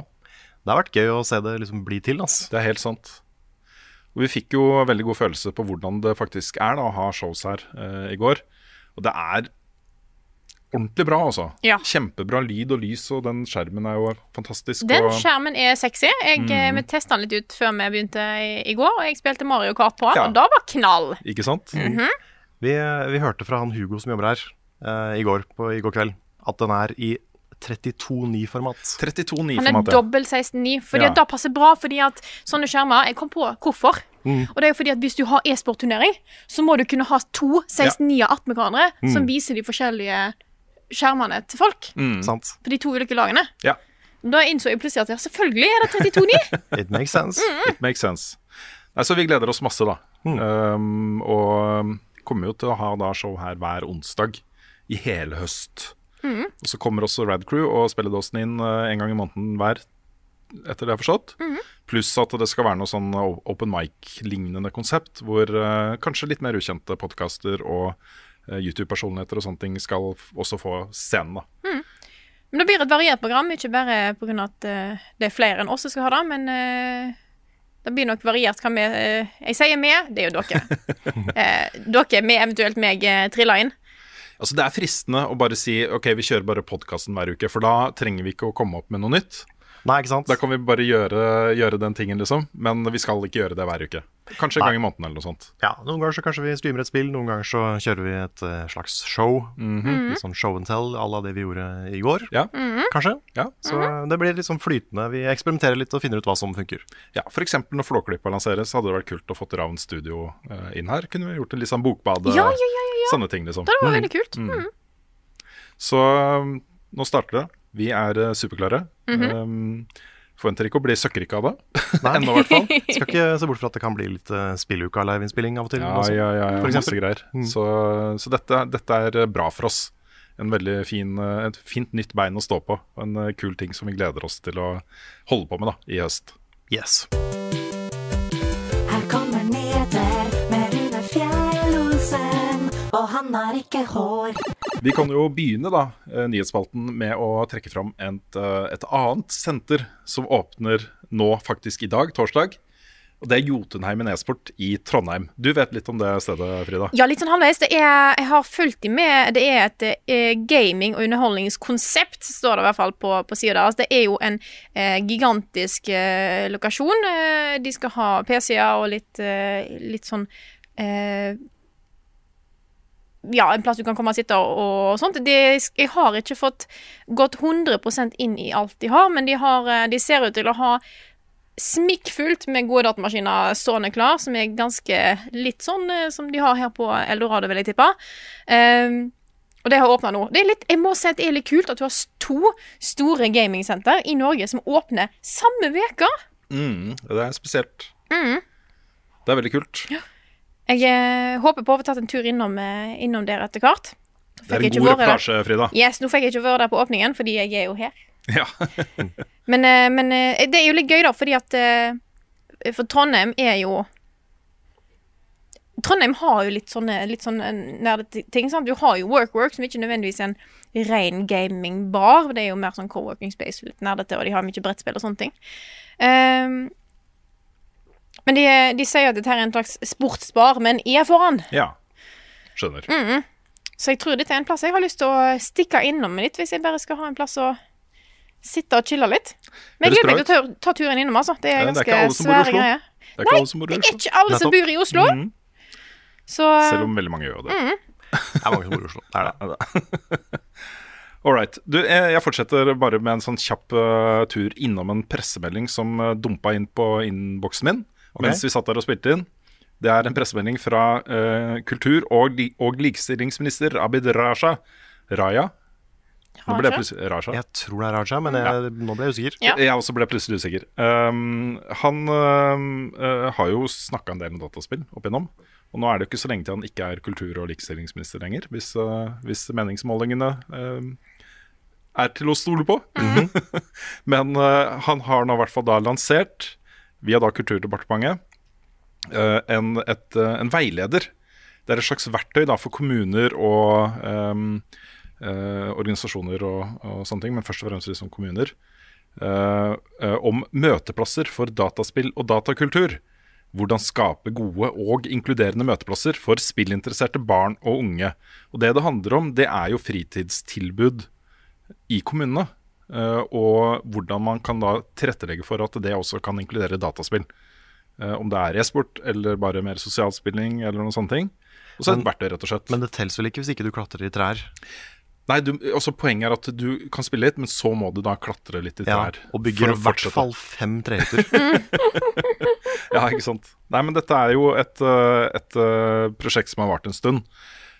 Det har vært gøy å se det liksom bli til. ass.
Det er helt sant. Og vi fikk jo veldig god følelse på hvordan det faktisk er da, å ha shows her eh, i går. Og det er ordentlig bra, altså.
Ja.
Kjempebra lyd og lys, og den skjermen er jo fantastisk.
Den
og,
skjermen er sexy. Jeg, eh, Vi testa den litt ut før vi begynte i, i går, og jeg spilte Mario Kart på den,
Ja.
og da var knall.
ikke sant?
Mhm.
Vi, vi hørte fra han Hugo som jobber her eh, i, går, på, i går kveld, at den er i 32.9-format.
32.9
Han er
format. ja.
dobbel 16,9, fordi
Ja.
at det passer bra. fordi at sånne skjermer Jeg kom på hvorfor. Og det er jo fordi at Hvis du har e-sportturnering, så må du kunne ha to 16,9 og 18 med hverandre som viser de forskjellige skjermene til folk.
Mm.
Sant?
For de to ulike lagene.
Ja,
Da innså jeg plutselig at ja, selvfølgelig er det 32,9!
It makes sense.
it makes sense. Nei, så vi gleder oss masse, da. Um, og um, kommer jo til å ha da show her hver onsdag i hele høst. Og så kommer også Rad Crew og spilledåsen inn eh, en gang i måneden hver, etter det jeg har forstått. Pluss at det skal være noe sånn o- open mic-lignende konsept, hvor eh, kanskje litt mer ukjente podkaster og eh, YouTube-personligheter og sånne ting skal f- også få scenen, da.
Men det blir et variert program, ikke bare pga. at eh, det er flere enn oss som skal ha det, men eh, det blir nok variert hva vi eh, Jeg sier vi, det er jo dere. Eh, dere med eventuelt meg eh, triller inn.
Altså Det er fristende å bare si ok, vi kjører bare podkasten hver uke, for da trenger vi ikke å komme opp med noe nytt.
Nei, ikke sant?
Da kan vi bare gjøre, gjøre den tingen, liksom. Men vi skal ikke gjøre det hver uke. Kanskje en gang i måneden eller noe sånt.
Ja, Noen ganger så kanskje vi streamer et spill, noen ganger så kjører vi et eh, slags show.
Mhm.
Litt sånn show and tell à la det vi gjorde i går,
Ja,
kanskje.
ja.
Så det blir litt sånn flytende. Vi eksperimenterer litt og finner ut hva som funker.
ja F.eks. når Flåklypa lanseres, hadde det vært kult å få Ravn Studio eh, inn her. Kunne vi gjort en litt sånn bokbade,
Ja, ja, ja, ja, ja.
sånne ting, liksom.
Det var veldig kult. Mm.
Så um, nå starter det. Vi er eh, superklare. um, forventer ikke å bli søkkrike av det. Ennå, i hvert fall.
Skal ikke se bort fra at det kan bli litt uh, spilluka liveinnspilling av og til.
Ja,
også.
ja, ja, ja
For
masse
eksempel.
greier. Mm. Så, så dette, dette er eh, bra for oss. En veldig fin, eh, et fint nytt bein å stå på. og En eh, kul ting som vi gleder oss til å holde på med da, i høst.
Yes.
Her kommer nyheter med Rune Fjellosen. Og han har ikke hår.
Vi kan jo begynne da, eh, nyhetsspalten med å trekke fram et, eh, et annet senter som åpner nå, faktisk i dag, torsdag. Og Det er Jotunheimen e-sport i Trondheim. Du vet litt om det stedet, Frida?
Ja, litt sånn halvveis. Det er, jeg har fulgt dem med. Det er et eh, gaming- og underholdningskonsept, står det i hvert fall på, på sida deres. Det er jo en eh, gigantisk eh, lokasjon. Eh, de skal ha PC-er og litt, eh, litt sånn eh, ja, en plass du kan komme og sitte og, og sånt. De, jeg har ikke fått gått 100 inn i alt de har, men de, har, eh, de ser ut til å ha smikkfullt med gode datamaskiner stående klar, som er ganske litt sånn eh, som de har her på Eldorado, vil jeg tippe. Ehm, og det har åpna nå. Det er litt, jeg må si at det er litt kult at du har s- to store gamingsenter i Norge som åpner samme uke.
Mm, det er spesielt.
Mm.
Det er veldig kult.
Jeg eh, håper på å få tatt en tur innom, eh, innom der etter hvert.
det er
Fikk
en
ikke
god
vært der.
reportasje, Frida.
Yes, nå fikk jeg ikke vært der på åpningen, fordi jeg er jo her.
Ja.
Men, eh, men eh, det er jo litt gøy, da, fordi at eh, For Trondheim er jo Trondheim har jo litt sånne, litt sånne nerde ting. sant? Du har jo WorkWork, som ikke nødvendigvis er en ren gamingbar. Det er jo mer sånn co-working space, litt nerdete, og de har mye brettspill og sånne ting. Ehm, men de, de sier at dette her er en slags sportsbar, men jeg er foran.
ja. Skjønner.
Mm. Så jeg tror dette er en plass jeg har lyst til å stikke innom litt, hvis jeg bare skal ha en plass å sitte og chille litt. Men jeg
Høres
gleder meg
bra
til å ta ta turen innom, altså. Det er
Ja, det er
ganske
ikke alle som bor i
svære
Oslo.
greier.
Det er ikke alle som bor
Det
i
er
Oslo.
ikke alle som
Nettopp.
bor i Oslo.
Mhm.
Så
Selv om veldig mange gjør jo det.
Det er mange som bor i Oslo. Det er det.
All right. Du, jeg jeg fortsetter bare med en sånn kjapp eh, tur innom en pressemelding som eh, dumpa inn på innboksen min mens vi satt der og spilte inn. Det er en pressemelding fra eh, kultur- og, li og likestillingsminister Abid Raja. Raja? Nå ble jeg
Raja?
plutselig Raja.
Jeg tror det er Raja, men jeg, nå ble jeg usikker.
Ja.
Jeg også ble plutselig usikker. Ehm, han ehm, eh, har jo snakka en del om dataspill opp igjennom. Og nå er det jo ikke så lenge til han ikke er kultur- og likestillingsminister lenger, hvis, eh, hvis meningsmålingene ehm, er til å stole på. Men eh, han har nå i hvert fall da lansert, via da Kulturdepartementet, eh, en, et, eh, en veileder. Det er et slags verktøy da for kommuner og ehm, eh, organisasjoner og, og sånne ting, men først og fremst liksom kommuner eh, eh, om møteplasser for dataspill og datakultur. Hvordan skape gode og inkluderende møteplasser for spillinteresserte barn og unge. Og Det det handler om, det er jo fritidstilbud i kommunene. eh, og hvordan man kan da tilrettelegge for at det også kan inkludere dataspill. Eh, om det er e-sport eller bare mer sosial spilling eller noen sånne ting. Og så et verktøy, rett og slett.
Men det teller vel ikke hvis ikke du klatrer i trær.
Nei, du, også Poenget er at du kan spille litt, men så må du da klatre litt i
Ja,
trær.
og
for å
bygger i hvert
fortsette.
fall fem trehytter.
Ja, ikke sant. Nei, men dette er jo et, eh, et eh, prosjekt som har vart en stund.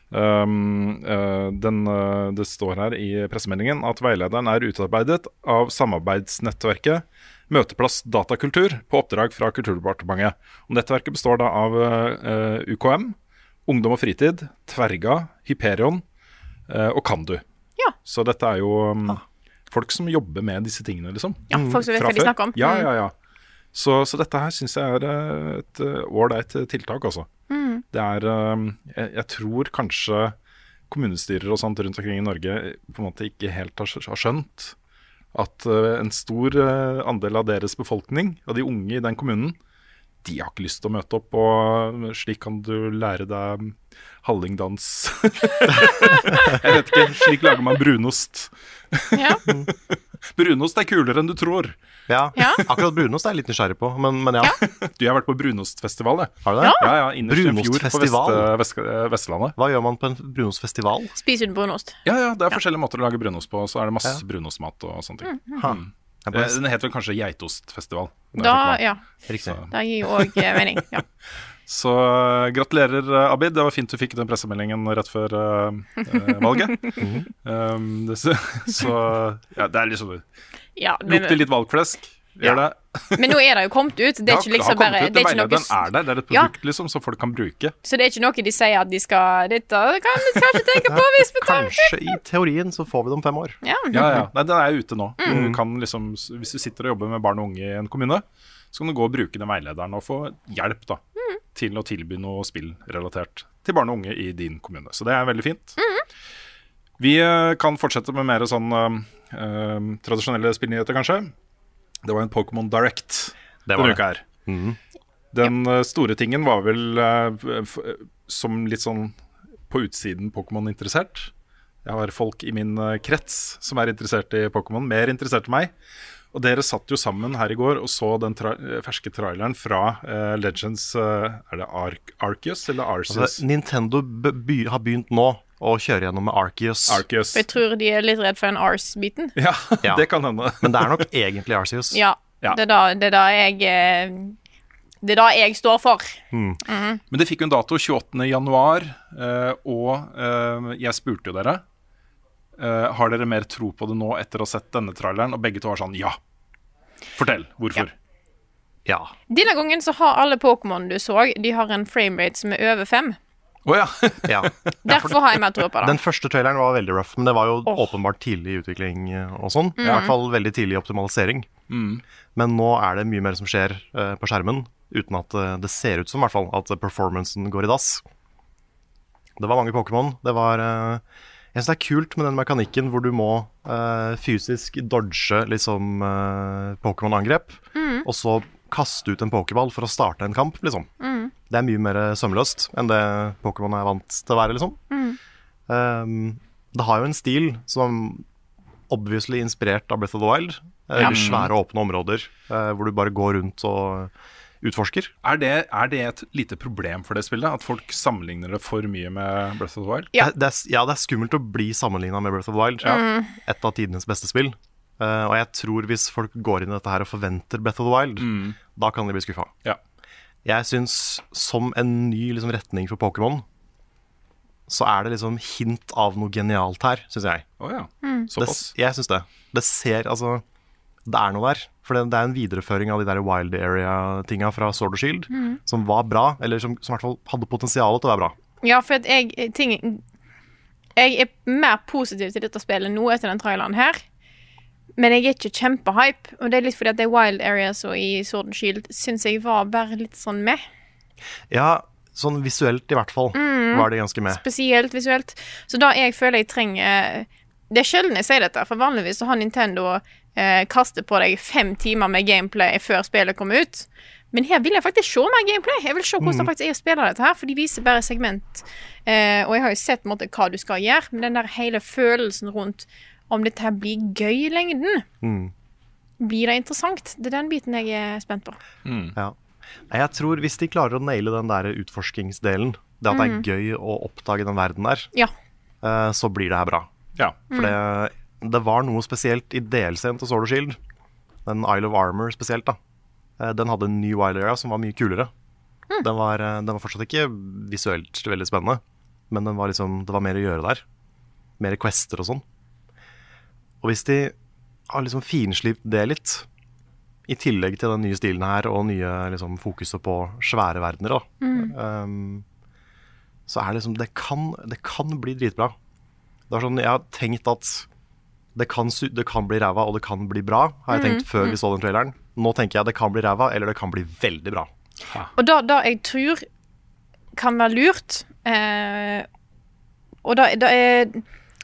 Um, eh, den, eh, det står her i pressemeldingen at veilederen er utarbeidet av samarbeidsnettverket Møteplass datakultur på oppdrag fra Kulturdepartementet. Og Nettverket består da av eh, UKM, Ungdom og fritid, Tverga, Hyperion eh, og Kandu.
Ja. Ah.
Så dette er jo um, folk som jobber med disse tingene, liksom.
ja, folk som vet
Fra
hva de
før.
snakker om.
Ja,
Mm.
ja, ja. Så, så dette her syns jeg er eh, et eh, ålreit eh, tiltak, altså.
Mm.
Det er eh, jeg, jeg tror kanskje kommunestyrer og sånt rundt omkring i Norge eh, på en måte ikke helt har, skj- har skjønt at eh, en stor eh, andel av deres befolkning, av de unge i den kommunen, de har ikke lyst til å møte opp, og slik kan du lære deg hallingdans Jeg vet ikke. Slik lager man brunost.
Ja.
Brunost er kulere enn du tror.
Ja.
Ja.
Akkurat brunost er jeg litt nysgjerrig på, men, men ja.
Du, jeg har vært på brunostfestival, jeg.
Har du det?
Ja, ja, innerst i en fjord på vest,
Brunostfestival?
vest, Vestlandet.
Hva gjør man på en brunostfestival?
Spiser du brunost?
Ja, ja, det er forskjellige måter å lage brunost på. og Så er det masse brunostmat og sånne ting.
Ha. Jeg
Eh,
bare,
Den heter vel kanskje geitostfestival. når jeg
Da,
fikk den.
ja.
riktig.
Da gir jo òg mening. Ja.
Så eh, gratulerer, eh, Abid. Det var fint du fikk den pressemeldingen rett før eh, eh, valget. um, det, så, så ja, det er liksom
Ja, men,
Lukter litt valgflesk. Gjør det.
men nå er det jo kommet ut. Det er
Ja,
ikke
det har
liksom
kommet
bare
ut,
det er
jeg
ikke noe,
mener Den er der. Det er et
Ja.
produkt liksom som folk kan bruke.
Så det er ikke noe de sier at de skal Dette kan vi kanskje tenke på hvis vi tar
Kanskje i teorien så får vi det om fem år.
ja.
Ja, ja. Nei, den er ute nå. Du kan liksom, s- hvis du sitter og jobber med barn og unge i en kommune, så kan du gå og bruke den veilederen og få hjelp da, til å tilby noe spillrelatert til barn og unge i din kommune. Så det er veldig fint. Vi eh, kan fortsette med mer sånn eh, eh, tradisjonelle spillnyheter, kanskje. Det var en Pokémon Direct
var
denne
det. Mhm.
uka her. Den eh, store tingen var vel eh, f- eh, som litt sånn på utsiden Pokémon-interessert. Jeg har folk i min eh, krets som er interessert i Pokémon, mer interessert enn meg. Og dere satt jo sammen her i går og så den tra eh, ferske traileren fra eh, Legends eh, Er det Ark Arceus eller Arceus?
Altså, Nintendo be- by har begynt nå å kjøre gjennom med Arceus.
Arceus.
Jeg tror de er litt redd for den Ars-biten.
Ja,
Ja.
det kan hende.
Men det er nok egentlig Arceus.
Ja.
Ja.
Det er da, det er da jeg eh, Det er da jeg står for.
Men det fikk jo en dato 28. januar, eh, og eh, jeg spurte jo dere eh, Har dere mer tro på det nå etter å ha sett denne traileren? Og begge to var sånn ja. Fortell hvorfor.
Ja.
Denne gangen så har alle Pokémon du så, de har en framerate som er over fem.
Å ja.
ja.
Derfor har jeg mer tro på det.
Den første traileren var veldig rough, men det var jo
Åh.
åpenbart tidlig i utvikling eh, og sånn. I hvert fall veldig tidlig i optimalisering. Men nå er det mye mer som skjer eh, på skjermen, uten at eh, det ser ut som i hvert fall at performancen går i dass. Det var mange Pokémon. Det var eh, Jeg syns det er kult med den mekanikken hvor du må eh, fysisk dodge liksom eh, Pokémon-angrep, og så kaste ut en pokéball for å starte en kamp, liksom. Det er mye mer eh, sømløst enn det Pokémon er vant til å være, liksom. Um, det har jo en stil som obviously inspirert av Breath of the Wild. Eh, Svære, åpne områder eh, hvor du bare går rundt og utforsker.
Er, det, er det et lite problem for det spillet? At folk sammenligner det for mye med Breath of the Wild?
Ja.
Det, det er, s- ja, det er skummelt å bli sammenligna med Breath of the Wild. Et av tidenes beste spill. Eh, og jeg tror hvis folk går inn i dette her og forventer Breath of the Wild, da kan de bli skuffa.
Ja.
Jeg syns som en ny liksom, retning for Pokémon, så er det liksom hint av noe genialt her, syns jeg.
Å ja.
Mm.
Det,
Såpass.
jeg syns det. Det ser Altså, det er noe der. For det, det er en videreføring av de der wild area-tinga fra Sword og Shield, som var bra, eller som, som i hvert fall hadde potensial til å være bra.
Ja, for at jeg eh, ting, Jeg er mer positiv til dette spillet nå etter den traileren her. Men jeg er ikke kjempehype, og det er litt fordi at det er Wild Areas og i Sword and Shield syns jeg var bare litt sånn med.
Ja, sånn visuelt i hvert fall var de ganske med.
Spesielt visuelt. Så da jeg føler jeg trenger Det er sjelden jeg sier dette, for vanligvis så har Nintendo eh, kastet på deg fem timer med gameplay før spillet kommer ut. Men her vil jeg faktisk se mer gameplay. Jeg vil se hvordan det faktisk er å spille dette her, for de viser bare segment. Eh, og jeg har jo sett på en måte, hva du skal gjøre, men den der hele følelsen rundt om dette her blir gøy i lengden Blir det interessant? Det er den biten jeg er spent på.
Ja. Nei, jeg tror hvis de klarer å naile den der utforskingsdelen, det at det er gøy å oppdage den verden der,
Ja.
eh, så blir det her bra.
Ja.
For det, det var noe spesielt i delscenen til Sword og Shield. Den Isle of Armor spesielt, da. Eh, Den hadde en ny Wild Area som var mye kulere. Den, var, eh, den var fortsatt ikke visuelt veldig spennende, men den var liksom, det var mer å gjøre der. Mer quester og sånn. Og hvis de har liksom finslipt det litt, i tillegg til den nye stilen her og nye liksom, fokuset på svære verdener, da, um, så er det liksom det kan, det kan bli dritbra. Det er sånn, Jeg har tenkt at det kan, su det kan bli ræva, og det kan bli bra,
Mm,
har jeg tenkt før vi så den traileren. Nå tenker jeg det kan bli ræva, eller det kan bli veldig bra.
Og da, da jeg tror kan være lurt eh, Og da, da er,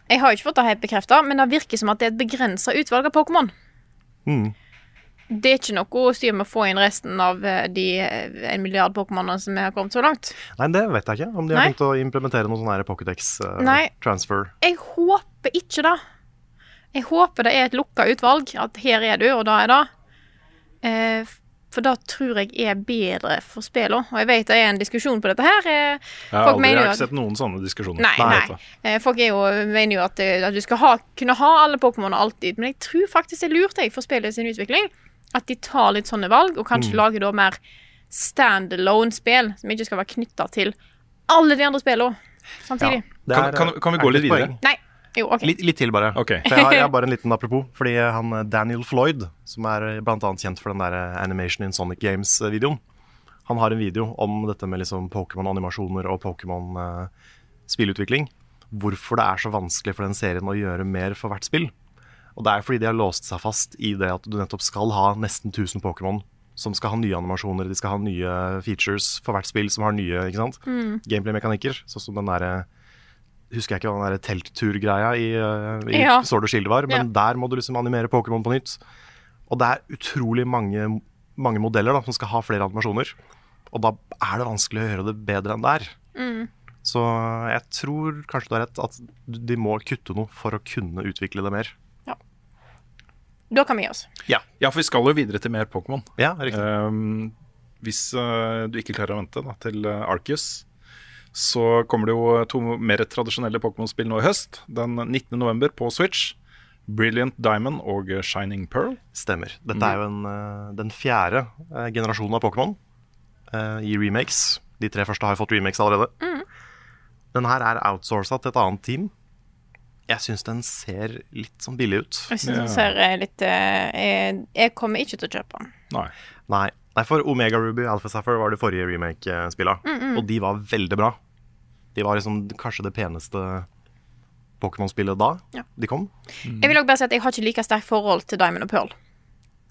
Jeg har jo ikke fått det helt bekrefta, men det virker som at det er et begrensa utvalg av Pokémon. Det er ikke noe styr med å få inn resten av eh, de eh, en milliard Pokémonene som har kommet så langt.
Nei, det vet jeg ikke. Om de har
Nei.
tenkt å implementere noe sånn her Pokédex eh,
Nei.
transfer.
Jeg håper ikke det. Jeg håper det er et lukka utvalg. At her er du, og da er det. Eh, f- for da tror jeg er bedre for spillene. Og jeg vet det er en diskusjon på dette her. Eh,
Jeg har
Folk
aldri
mener jo
jeg har
at-
ikke sett noen sånne diskusjoner.
Nei,
Nei,
nei.
vet
Eh, Folk er jo, mener jo at, eh, at du skal ha, kunne ha alle Pokémonene alltid, men jeg tror faktisk det er lurt jeg, for spillet sin utvikling at de tar litt sånne valg, og kanskje lager da mer standalone-spill som ikke skal være knytta til alle de andre spillene samtidig.
Det
Kan-
er,
kan- kan vi
er
gå litt
et
videre?
poeng.
Nei. Jo, OK.
Litt, litt til, bare.
Ok.
For jeg, har, jeg har bare en liten apropos. Fordi han eh, Daniel Floyd, som er eh, blant annet kjent for den der eh, Animation in Sonic Games-videoen, han har en video om dette med liksom Pokémon-animasjoner og Pokémon-spillutvikling. Hvorfor det er så vanskelig for den serien å gjøre mer for hvert spill. Og det er fordi de har låst seg fast i det at du nettopp skal ha nesten 1000 Pokémon som skal ha nye animasjoner, de skal ha nye features for hvert spill som har nye ikke sant?
Mm.
gameplay-mekanikker. Sånn som den derre Husker jeg ikke hva den der telttur-greia i, eh, i
Ja.
Sword og Shield var,
Ja.
men der må du liksom animere Pokémon på nytt. Og det er utrolig mange, mange modeller da, som skal ha flere animasjoner. Og da er det vanskelig å gjøre det bedre enn det er.
Mm.
Så jeg tror kanskje du har rett at de må kutte noe for å kunne utvikle det mer.
Da kan vi gi oss.
du. Ja, for vi skal jo videre til mer Pokémon.
Ja, riktig.
Ehm, hvis eh, du ikke klarer å vente da, til uh, Arceus, så kommer det jo to mer tradisjonelle Pokémon-spill nå i høst. Den 19. november på Switch. Brilliant Diamond og eh, Shining Pearl.
Stemmer. Dette er jo en, eh, den fjerde eh, generasjonen av Pokémon eh, i remakes. De tre første har jo fått remakes allerede. Den her er outsourca til et annet team. Jeg syns den ser litt sånn billig ut.
Jeg synes den ser eh, litt eh, Jeg, jeg kommer ikke til å kjøpe den.
Nei.
Nei, Nei for Omega Ruby og Alpha Sapphire var de forrige remake-spilla, og de var veldig bra. De var liksom kanskje det peneste Pokémon-spillet da
Ja.
de kom.
Jeg vil også bare si at jeg har ikke like sterkt forhold til Diamond og Pearl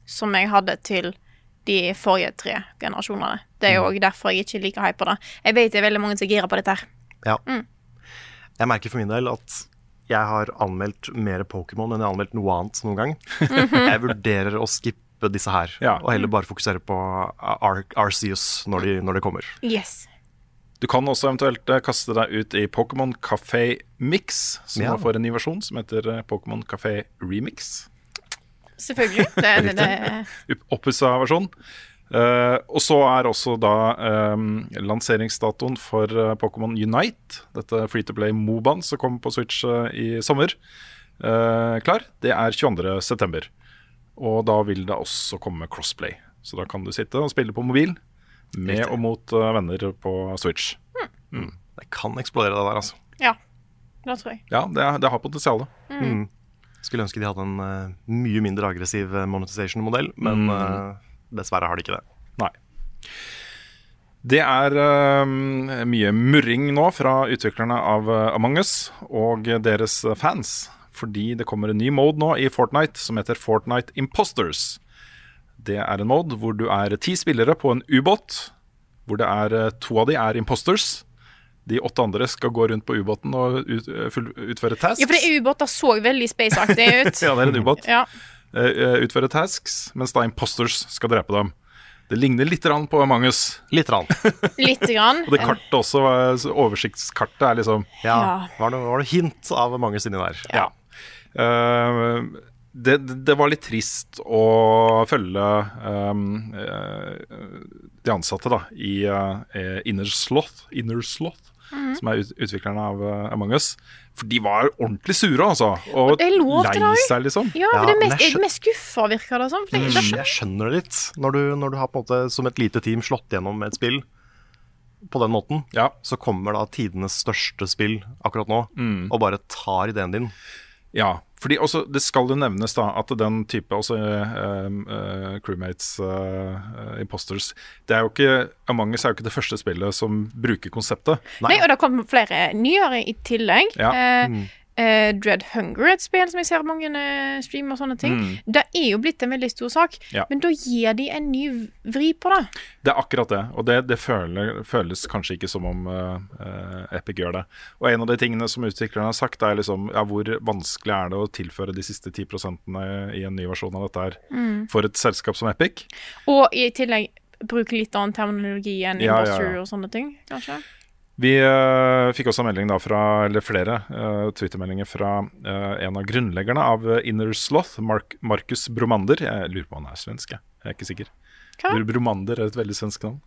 som jeg hadde til de forrige tre generasjonene. Det er jo også derfor jeg ikke er like hype på det. Jeg vet det er veldig mange som girer på dette her.
Ja. Jeg merker for min del at jeg har anmeldt mer Pokémon enn jeg har anmeldt noe annet noen gang. jeg vurderer å skippe disse her,
Ja.
og heller bare fokusere på Ar Arceus når de, når de kommer.
Yes.
Du kan også eventuelt eh, kaste deg ut i Pokémon Café Mix, som
Ja.
nå får en ny versjon som heter eh, Pokémon Café Remix.
Selvfølgelig. Det, det, det,
Opp- Oppussa versjon. Eh, og så er også da eh, lanseringsdatoen for eh, Pokémon Unite, dette Free to Play Moban som kommer på Switch eh, i sommer, eh, klar. Det er 22.9. Og da vil det også komme crossplay. Så da kan du sitte og spille på mobil med og mot eh, venner på Switch.
Jeg kan eksplodere det der, altså.
ja. Det tror jeg.
Ja, det, er- det har potensial.
Skulle ønske de hadde en eh, mye mindre aggressiv eh, monetization-modell, men eh, dessverre har de ikke det.
Nei. Det er eh, mye murring nå fra utviklerne av eh, Among us og deres fans. Fordi det kommer en ny mode nå i Fortnite som heter Fortnite Imposters. Det er en mode hvor du er ti spillere på en ubåt. Hvor det er eh, to av de er imposters. De åtte andre skal gå rundt på ubåten og ut, eh, full, utføre tasks.
Ja, for det ubåter så veldig spaceaktig ut.
ja, det er en ubåt
Ja.
eh, utføre tasks, mens da imposters skal drepe dem. Det ligner litt grann på Among us.
Litt. Rann.
Lite grann.
Og det kartet også, var- så oversiktskartet er liksom
Ja,
Ja.
Var, det, var det hint av mange inni der?
Ja. Eh, det, det var litt trist å følge ehm, eh, de ansatte da, i eh, Inner Sloth, Inner Sloth
Mhm.
som er ut, utviklerne av eh, Among us. For de var ordentlig sure, altså. Og,
det er lov til det,
lei
også.
seg, liksom.
Ja, for det er
Ja,
mest,
men jeg Mm.
jeg er mest skuffa, virker det som. For jeg,
Jeg skj- jeg skjønner det litt. Når du, når du har på en måte som et lite team slått gjennom et spill på den måten,
Ja.
så kommer da tidenes største spill akkurat nå
Mm.
og bare tar ideen din.
Ja, fordi også, det skal jo nevnes da at den type også, eh, eh, crewmates, eh, eh, imposters det er jo ikke, Among us er jo ikke det første spillet som bruker konseptet.
Nei, og det kom flere nyere i tillegg.
Ja. Mm.
Eh, eh, Dread Hunger, et spill som jeg ser mange eh, streamer og sånne ting. Det er jo blitt en veldig stor sak,
Mm. Ja.
men da gir de en ny vri på det.
Det er akkurat det, og det, det føler, føles kanskje ikke som om eh, eh, Epic gjør det. Og en av de tingene som utviklerne har sagt, er liksom ja, hvor vanskelig er det å tilføre de siste 10 i en ny versjon av dette her for et selskap som Epic?
Og i tillegg bruke litt annen terminologi enn
Ja, ja, ja.
Imposter og sånne ting, kanskje.
Vi eh, fikk også en melding da fra, eller flere eh, twittermeldinger fra eh, en av grunnleggerne av eh, Inner Sloth, Mark Markus Bromander. Jeg lurer på om han er svensk, jeg. jeg er ikke sikker.
Hva?
Br- Bromander er et veldig svensk navn.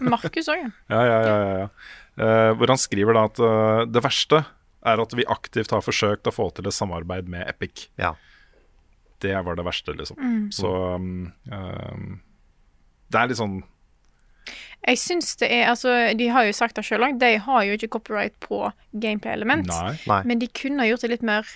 Markus òg, ja.
Ja, ja, ja, ja, ja. Eh, hvor han skriver da at eh, det verste er at vi aktivt har forsøkt å få til et samarbeid med Epic.
Ja.
Det var det verste, liksom.
Mm.
Så um, um, det er litt sånn
Jeg syns det er Altså, de har jo sagt det sjøl òg, de har jo ikke copyright på gameplay-element.
Nei.
Nei.
Men de kunne ha gjort det litt mer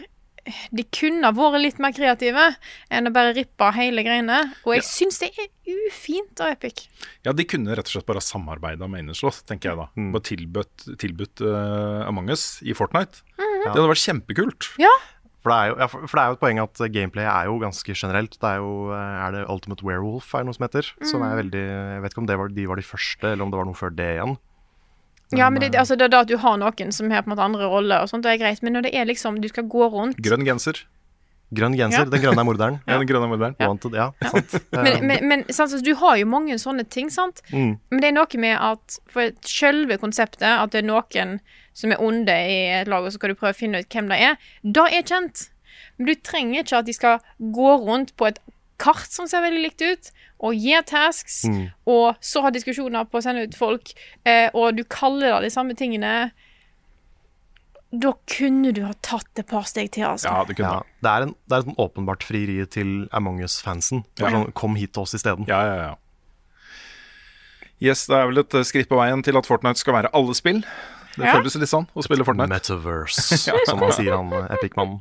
De kunne ha vært litt mer kreative enn å bare rippe hele greiene. Og jeg syns det er ufint av Epic.
Ja, de kunne rett og slett bare samarbeida med Innerslått, tenker jeg da.
Mm.
Bare tilbudt, tilbudt eh, Among us i Fortnite. Det hadde vært kjempekult.
Ja.
For det, er jo, ja, for for det er jo et poeng at eh, gameplay er jo ganske generelt. Det er jo eh, er det Ultimate Werewolf er det noe som heter. Som
Mm.
er veldig Jeg vet ikke om det var, de var de første, eller om det var noe før det igjen. eh,
Ja, men det, altså, det er da at du har noen som har på en måte andre roller og sånt, det er greit. Men når det er liksom Du skal gå rundt
Grønn genser.
Grønn
Ja.
genser, den grønne er morderen.
Ja. Den grønne modellen.
Wanted, ja, sant. Eh,
Men, men, men sant, så du har jo mange sånne ting, sant?
Mm.
Men det er noe med at For selve konseptet, at det er noen som er onde i et lag, og så skal du prøve å finne ut hvem det er, det er kjent. Men du trenger ikke at de skal gå rundt på et kart som ser veldig likt ut, og gi tasks,
Mm.
og så ha diskusjoner på å sende ut folk, eh, og du kaller det de samme tingene. Da kunne du ha tatt et par steg til, altså.
Ja, det kunne
Ja,
det.
det er, en, det er et sånn åpenbart frieri til Among us-fansen. Det er
Ja.
Sånn, kom hit til oss isteden.
Ja, ja, ja. Yes, det er vel et eh, skritt på veien til at Fortnite skal være alle spill. Det
Ja.
føles litt sånn å spille Fortnite.
Metaverse, som han sier, han eh, Epic-mannen.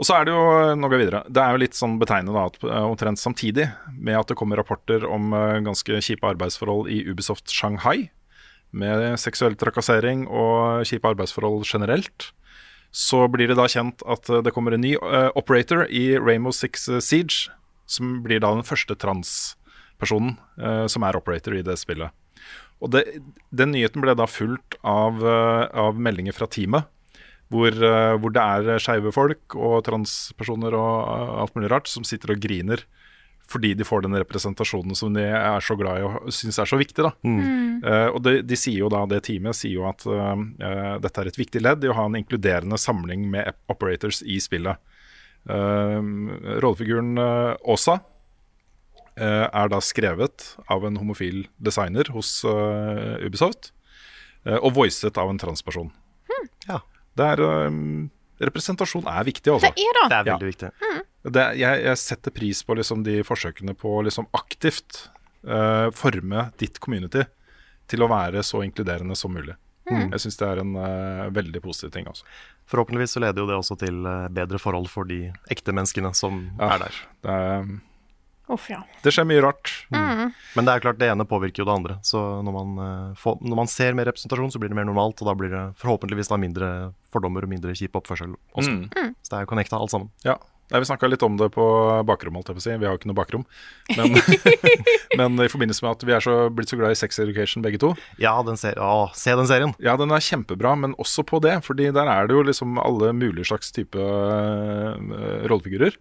Og så er det jo, nå går jeg videre, det er jo litt sånn betegnende da, at eh, omtrent samtidig med at det kommer rapporter om eh, ganske kjipe arbeidsforhold i Ubisoft Shanghai, med seksuell trakassering og kjipe arbeidsforhold generelt, så blir det da kjent at eh, det kommer en ny eh, operator i Rainbow Six Siege, som blir da den første transpersonen eh, som er operator i det spillet. Og det, den nyheten ble da fulgt av, eh, av meldinger fra teamet, hvor, eh, hvor det er skeive folk og transpersoner og eh, alt mulig rart som sitter og griner fordi de får den representasjonen som de er så glad i og syns er så viktig. Da. Eh, og de, de sier jo da, det teamet sier jo at eh, eh, dette er et viktig ledd i å ha en inkluderende samling med ep- operators i spillet. Eh, rollefiguren eh, Åsa eh, er da skrevet av en homofil designer hos eh, Ubisoft, eh, og voicet av en transperson.
Ja,
Det er øhm, Representasjon er viktig, altså.
Det er
det
da.
er
Ja.
veldig viktig.
Det er- jeg, jeg setter pris på liksom, de forsøkene på å liksom, aktivt øh, forme ditt community til å være så inkluderende som mulig.
Mm.
Jeg syns det er en øh, veldig positiv ting. Altså.
Forhåpentligvis så leder jo det også til eh, bedre forhold for de ekte menneskene som
Ja.
er der.
Ah, Det, er, um,
Uff, ja.
det skjer mye rart.
Mm.
Mm.
Men det er klart, det ene påvirker jo det andre. Så når man, eh, får, når man ser mer representasjon, så blir det mer normalt. Og da blir det forhåpentligvis da mindre fordommer og mindre kjip oppførsel også.
Mm.
Så det er jo connecta alt sammen.
Ja. Nei, vi snakka litt om det på bakrom, holdt jeg på å si. Vi har jo ikke noe bakrom. Men, men i forbindelse med at vi er så, blitt så glad i sex education begge to,
Ja, den ser, å, se den serien!
Ja, den er kjempebra, men også på det. Fordi der er det jo liksom alle mulige slags type øh, rollefigurer.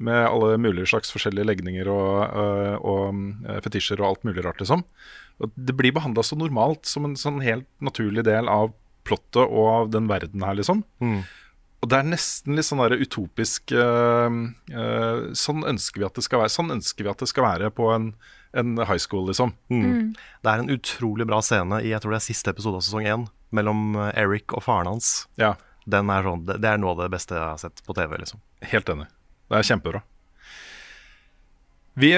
Med alle mulige slags forskjellige legninger og, øh, og øh, fetisjer og alt mulig rart, liksom. Og det blir behandla så normalt, som en sånn helt naturlig del av plottet og av den verden her, liksom. Og det er nesten litt sånn der utopisk øh, øh, Sånn ønsker vi at det skal være Sånn ønsker vi at det skal være på en, en high school, liksom.
Mm. Det er en utrolig bra scene i jeg tror det er siste episode av sesong én, mellom eh, Eric og faren hans.
Ja,
Den er sånn, det det er noe av det beste jeg har sett på TV. liksom.
Helt enig. Det er kjempebra. Vi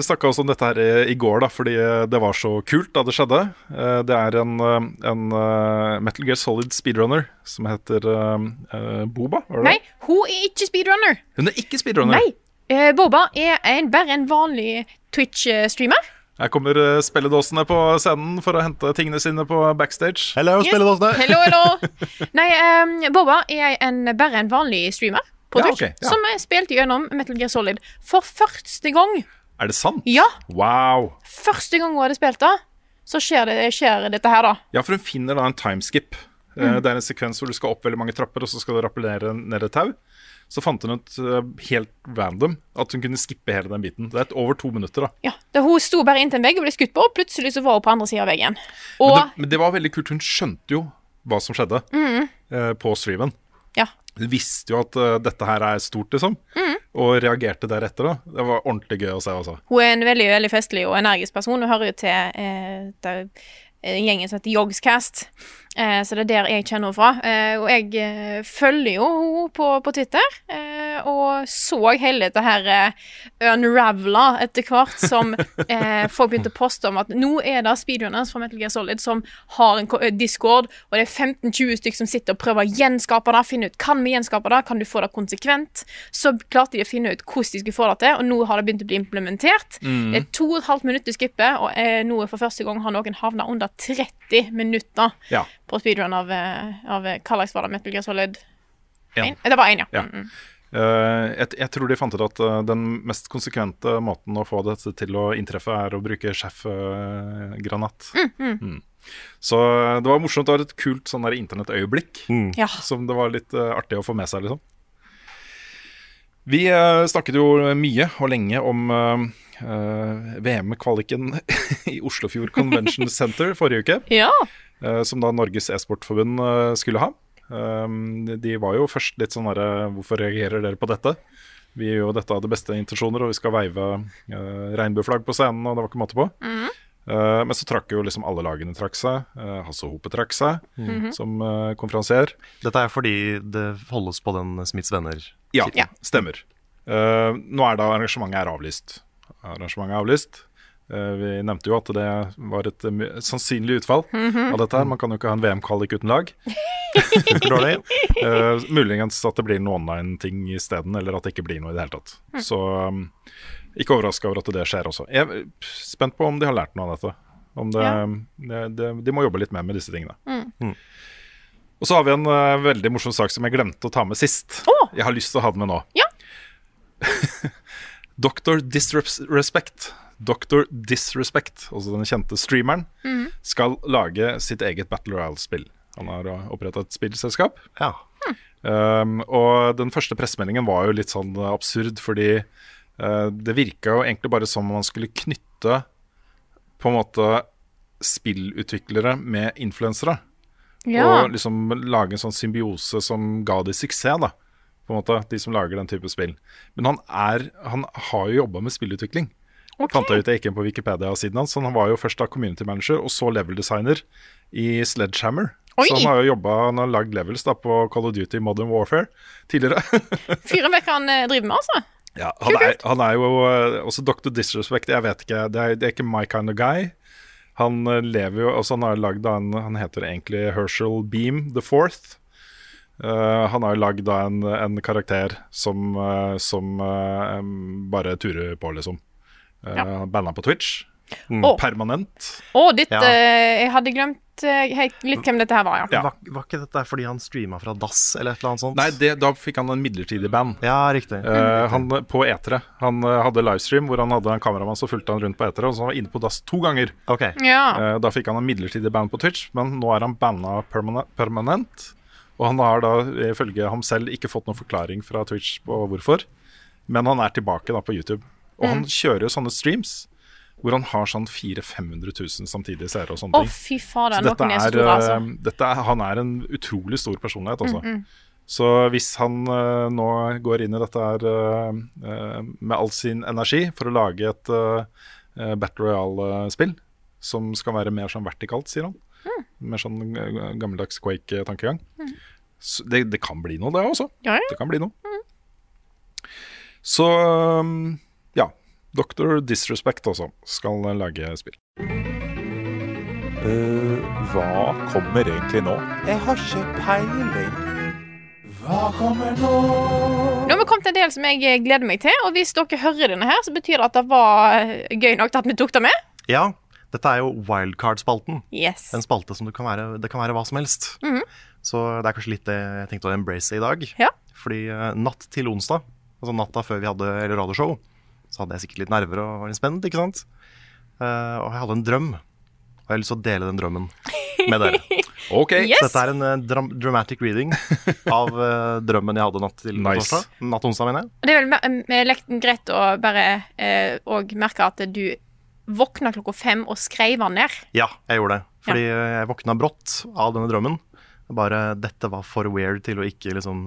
snakka også om dette her eh, i går, da, fordi eh, det var så kult da det skjedde. Eh, Det er en, eh, en eh, Metal Gear Solid speedrunner som heter eh, eh, Boba. Var det?
Nei, hun er ikke speedrunner.
Hun er ikke speedrunner.
Nei. Eh, Boba er en, bare en vanlig Twitch-streamer.
Her kommer eh, spilledåsene på scenen for å hente tingene sine på backstage.
Hello,
Yes.
spilledåsene!
Hello, hello. Nei, ehm, Boba er en, bare en vanlig streamer på
Ja,
Twitch
ok, ja.
som eh, spilte gjennom Metal Gear Solid for første gang.
Er det sant?
Ja,
Wow!
første gang hun hadde spilt det, så skjer, det, skjer dette her, da.
Ja, for hun finner da en timeskip. Eh, Det er en sekvens hvor du skal opp veldig mange trapper, og så skal du rappellere ned et tau. Så fant hun ut eh, helt random at hun kunne skippe hele den biten. Det er et over to minutter, da.
Ja, da Hun sto bare inntil en vegg og ble skutt på, og plutselig så var hun på andre sida av veggen. Og
Men det, men det var veldig kult. Hun skjønte jo hva som skjedde eh, på streamen.
ja,
Hun visste jo at eh, dette her er stort, liksom, og reagerte deretter. da. Det var ordentlig gøy å se, altså.
Hun er en veldig, veldig festlig og energisk person. Hun hører jo til, eh, til eh, gjengen som heter Yogscast, eh, så det er der jeg kjenner henne fra. Eh, og jeg eh, følger jo henne på, på Twitter, eh, og så hele dette her eh, unravela etter hvert som eh, folk begynte å poste om at nå er det speedrunners fra Metal Gear Solid som har en ko- eh, Discord, og det er 15-20 stykker som sitter og prøver å gjenskape det, finne ut kan vi gjenskape det, kan du få det konsekvent? Så klarte de å finne ut hvordan de skulle få det til, og nå har det begynt å bli implementert. Det er to og et halvt minutt du skipper, og eh, nå for første gang har noen havna under 30 minutter
Ja.
på speedrun av, eh, av eh, hva slags var det, Metal Gear Solid?
En.
En? Det var én, ja.
Ja.
Mm, mm.
Eh, jeg, jeg tror de fant ut at eh, den mest konsekvente måten å få dette til å inntreffe, er å bruke sjefgranat. Mm. Så eh, det var morsomt. Det var et kult sånn der internettøyeblikk
ja.
som det var litt eh, artig å få med seg, liksom. Vi eh, snakket jo mye og lenge om eh, eh, VM-kvaliken i Oslofjord Convention Center forrige uke
ja.
eh, som da Norges e-sportforbund eh, skulle ha. Um, de var jo først litt sånn herre Hvorfor reagerer dere på dette? Vi gjør jo dette av de beste intensjoner, og vi skal veive eh, regnbueflagg på scenen, og det var ikke måte på. Eh, men så trakk jo liksom alle lagene trakk seg. Eh, Hasse Hope trakk seg som eh, konferansier.
Dette er fordi det holdes på den Smiths venner.
Ja,
Ja.
stemmer. Eh, nå er da arrangementet er avlyst. Arrangementet er avlyst. Eh, vi nevnte jo at det var et eh, mu- sannsynlig utfall av dette her. Man kan jo ikke ha en VM-kvalik uten lag.
Dårlig.
Eh, muligens at det blir noe online-ting isteden, eller at det ikke blir noe i det hele tatt.
Mm.
Så um, ikke overraska over at det skjer også. Jeg er spent på om de har lært noe av dette. Om det, um,
Ja.
det, det, de må jobbe litt mer med disse tingene. Mm. Og så har vi en eh, veldig morsom sak som jeg glemte å ta med sist.
Å!
Jeg har lyst til å ha den med nå.
Ja.
Dr. Disrespect, Dr. Disrespect, altså den kjente streameren,
Mm.
skal lage sitt eget Battle Royale-spill. Han har oppretta et spillselskap.
Ja.
Um, og den første pressemeldingen var jo litt sånn absurd, fordi eh, det virka jo egentlig bare som om man skulle knytte på en måte spillutviklere med influensere.
ja.
Og liksom lage en sånn symbiose som ga de suksess, da. På en måte, de som lager den type spill. Men han, er, han har jo jobba med spillutvikling. Fant jeg ut jeg gikk inn på Wikipedia-siden hans. så Han var jo først da community manager, og så level designer i Sledgehammer.
Oi!
Så han har jo jobbet, han har lagd levels da på Call of Duty Modern Warfare tidligere.
Fyren vet hva han eh, driver med, altså.
Ja, han, er, han er jo eh, også Dr. Disrespect, jeg vet ikke, det er, det er ikke my kind of guy. Han eh, lever jo, altså han har lagd da en, han heter egentlig Herschel Beam the Fourth. Eh, han har jo lagd da en, en karakter som, eh, som eh, em, bare turer på, liksom. Uh,
Ja.
Banna på Twitch. Mm,
Å.
Permanent.
Å, ditt
Ja.
eh, Jeg hadde glemt eh, helt litt hvem dette her var, ja.
Ja.
Var, var ikke dette fordi han streama fra dass, eller et eller annet sånt?
Nei, det, da fikk han en midlertidig band.
Ja, riktig.
Eh, han eh, på etere. Han eh, hadde livestream hvor han hadde en kameramann som fulgte han rundt på etere, og så var han inne på dass to ganger.
Ok.
Ja.
Eh, Da fikk han en midlertidig band på Twitch, men nå er han banna permane- permanent. Og han har da ifølge ham selv ikke fått noen forklaring fra Twitch på hvorfor. Men han er tilbake da på YouTube. Og han
Mm.
kjører jo sånne streams hvor han har sånn 400 500 000 samtidige seere og sånne
Å,
ting.
fy
Så
fader,
dette
noen er
er,
store, altså. Mm,
eh, dette er, han er en utrolig stor personlighet, altså. Så hvis han eh, nå går inn i dette her eh, eh, med all sin energi for å lage et eh, eh, Battle Royale-spill, som skal være mer sånn vertikalt, sier han,
Mm.
mer sånn eh, gammeldags Quake-tankegang, så det, det kan bli noe, det også.
Ja, ja.
Det kan bli noe. Så um, ja. Dr. Disrespect også skal eh, lage spill.
hva kommer egentlig nå? Jeg har ikke peiling. Hva kommer nå?
Nå har vi kommet til en del eh, som jeg gleder meg til, og hvis dere hører denne her, så betyr det at det var gøy eh, nok til at vi tok det med.
Ja, dette er jo wildcard-spalten.
Yes.
En spalte som du kan være, det kan være hva som helst.
Mhm.
Så det er kanskje litt det jeg tenkte å embrace i dag.
Ja.
Fordi eh, natt til onsdag, altså natta før vi hadde eller radioshow, så hadde jeg sikkert litt nerver og var litt spent, ikke sant? Eh, og jeg hadde en drøm. Og jeg har lyst til å dele den drømmen med dere.
Ok.
Yes.
Så dette er en eh, dram dramatic reading av eh, drømmen jeg hadde natt til
Nice.
torsdag. Natt til onsdag, mener jeg.
Det er vel mer- mer lekt- greit å bare eh, og merke at du våkna klokka fem og skrev den ned.
Ja, jeg gjorde det. Fordi eh, jeg våkna brått av denne drømmen. Bare dette var for weird til å ikke liksom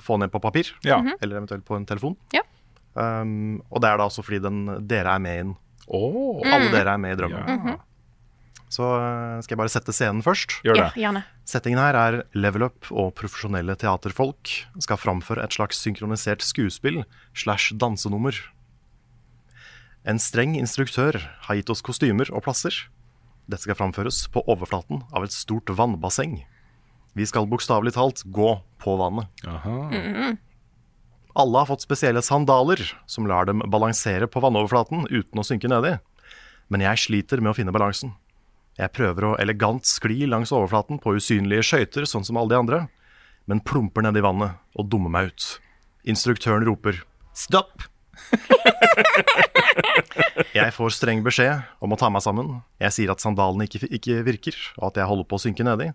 få ned på papir.
Ja.
Eller eventuelt på en telefon.
Ja.
Um, og det er da også fordi den, dere er med i den.
Åh,
Alle dere er med i drømmen.
ja.
Så eh, skal jeg bare sette scenen først.
Gjør
Ja,
det.
gjerne.
Settingen her er level up og profesjonelle teaterfolk skal framføre et slags synkronisert skuespill slash dansenummer. En streng instruktør har gitt oss kostymer og plasser. Dette skal framføres på overflaten av et stort vannbasseng. Vi skal bokstavelig talt gå på vannet.
Aha.
Mm.
Alle har fått spesielle sandaler som lar dem balansere på vannoverflaten uten å synke nedi. Men jeg sliter med å finne balansen. Jeg prøver å elegant skli langs overflaten på usynlige skøyter, sånn som alle de andre, men plumper nedi vannet og dummer meg ut. Instruktøren roper 'stopp'. jeg får streng beskjed om å ta meg sammen. Jeg sier at sandalene ikke, ikke virker, og at jeg holder på å synke nedi.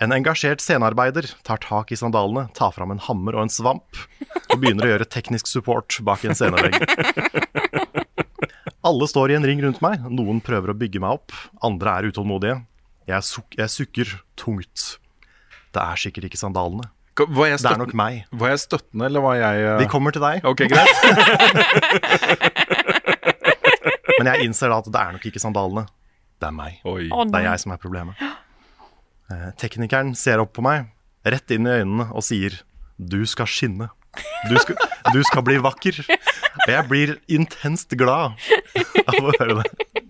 En engasjert scenearbeider tar tak i sandalene, tar fram en hammer og en svamp og begynner å gjøre teknisk support bak en scenevegg. Alle står i en ring rundt meg. Noen prøver å bygge meg opp, andre er utålmodige. Jeg, suk jeg sukker tungt. Det er sikkert ikke sandalene.
Var jeg,
Det er
støttende,
nok meg.
var jeg støttende, eller var jeg eh,
Vi kommer til deg,
Ok, greit.
men jeg innser da at det er nok ikke sandalene. Det er meg.
Oi.
Å,
Det
nei.
er jeg som er problemet. Eh, Teknikeren ser opp på meg, rett inn i øynene, og sier Du skal skinne. Du skal, du skal bli vakker. Og jeg blir intenst glad av å høre det.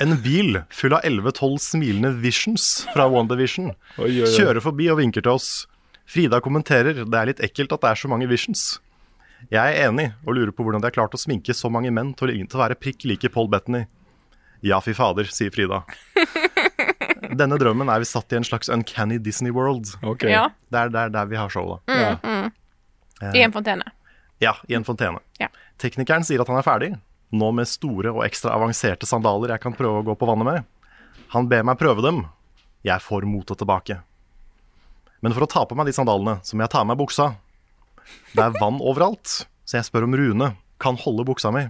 En bil full av 11-12 smilende visions fra WandaVision
Oi, oi, oi.
kjører forbi og vinker til oss. Frida kommenterer det er litt ekkelt at det er så mange visions. Jeg er enig og lurer på hvordan de har klart å sminke så mange menn til å ligne- til å være prikk like Paul Bettany. Ja, fy fader, sier Frida. Denne drømmen er vi satt i en slags uncanny Disney World.
Ok.
Ja,
Det er der, der vi har show, da.
Ja.
I en fontene.
Ja, i en fontene.
Ja.
Teknikeren sier at han er ferdig, nå med store og ekstra avanserte sandaler jeg kan prøve å gå på vannet med. Han ber meg prøve dem. Jeg får motet tilbake. Men for å ta på meg de sandalene, så må jeg ta av meg buksa. Det er vann overalt, så jeg spør om Rune kan holde buksa mi.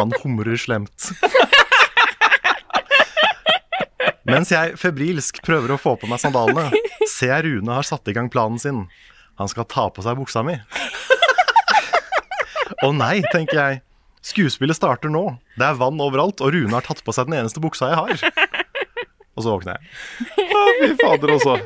Han humrer slemt. Mens jeg febrilsk prøver å få på meg sandalene, ser jeg Rune har satt i gang planen sin. Han skal ta på seg buksa mi. Å nei, tenker jeg. Skuespillet starter nå. Det er vann overalt, og Rune har tatt på seg den eneste buksa jeg har. Og så våkner jeg.
Å, Fy fader, også.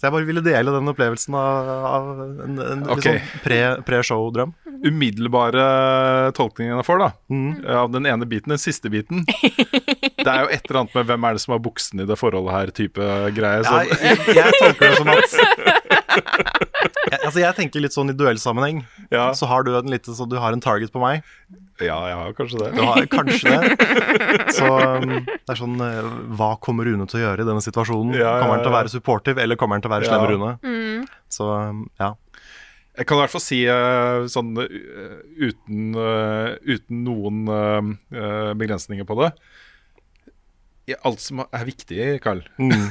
Så jeg bare ville dele den opplevelsen av, av en, en litt
Ok.
sånn pre- pre-show-drøm.
Umiddelbare eh, tolkningen jeg får, da. Eh, Av den ene biten. Den siste biten. Det er jo et eller annet med hvem er det som har buksene i det forholdet her-type greie.
Ja,
Så
jeg, jeg tolker det som at jeg, altså jeg tenker litt sånn i duellsammenheng.
Ja.
Så har du en liten så du har en target på meg.
ja, jeg har kanskje
Du
det.
har kanskje det. Så um, det er sånn eh, Hva kommer Rune til å gjøre i denne situasjonen?
Ja, ja,
Kommer han til å
ja.
være supportive, eller kommer han til å være
Ja.
slem Rune? Så um, ja.
Jeg kan i hvert fall si eh, sånn eh, uten, eh, uten noen eh, eh, begrensninger på det Ja, Alt som er viktig, Carl.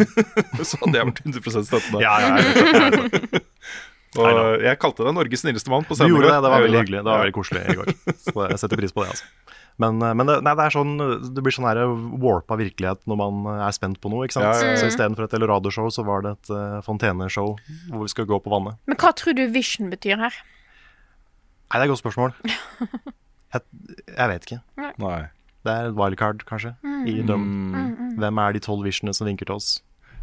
så hadde jeg vært 100 støttende.
Mm. Ja, ja, jeg vet det, jeg vet det.
Og jeg kalte deg Norges snilleste mann på
Du
scenen.
gjorde det, det var
Jeg
veldig
gjorde
hyggelig. Det var veldig koselig i går. Så jeg setter pris på det, altså. Men, eh, men det, nei, det er sånn Det blir sånn her warpa virkelighet når man eh, er spent på noe, ikke sant.
Ja, ja, ja.
Så istedenfor et Elorado-show, så var det et eh, fonteneshow hvor vi skal gå på vannet.
Men hva tror du vision betyr her?
Nei, det er et godt spørsmål. Jeg, jeg vet ikke.
Nei.
Det er et wildcard, kanskje,
Mm.
i drømmen. Hvem er de tolv visionene som vinker til oss?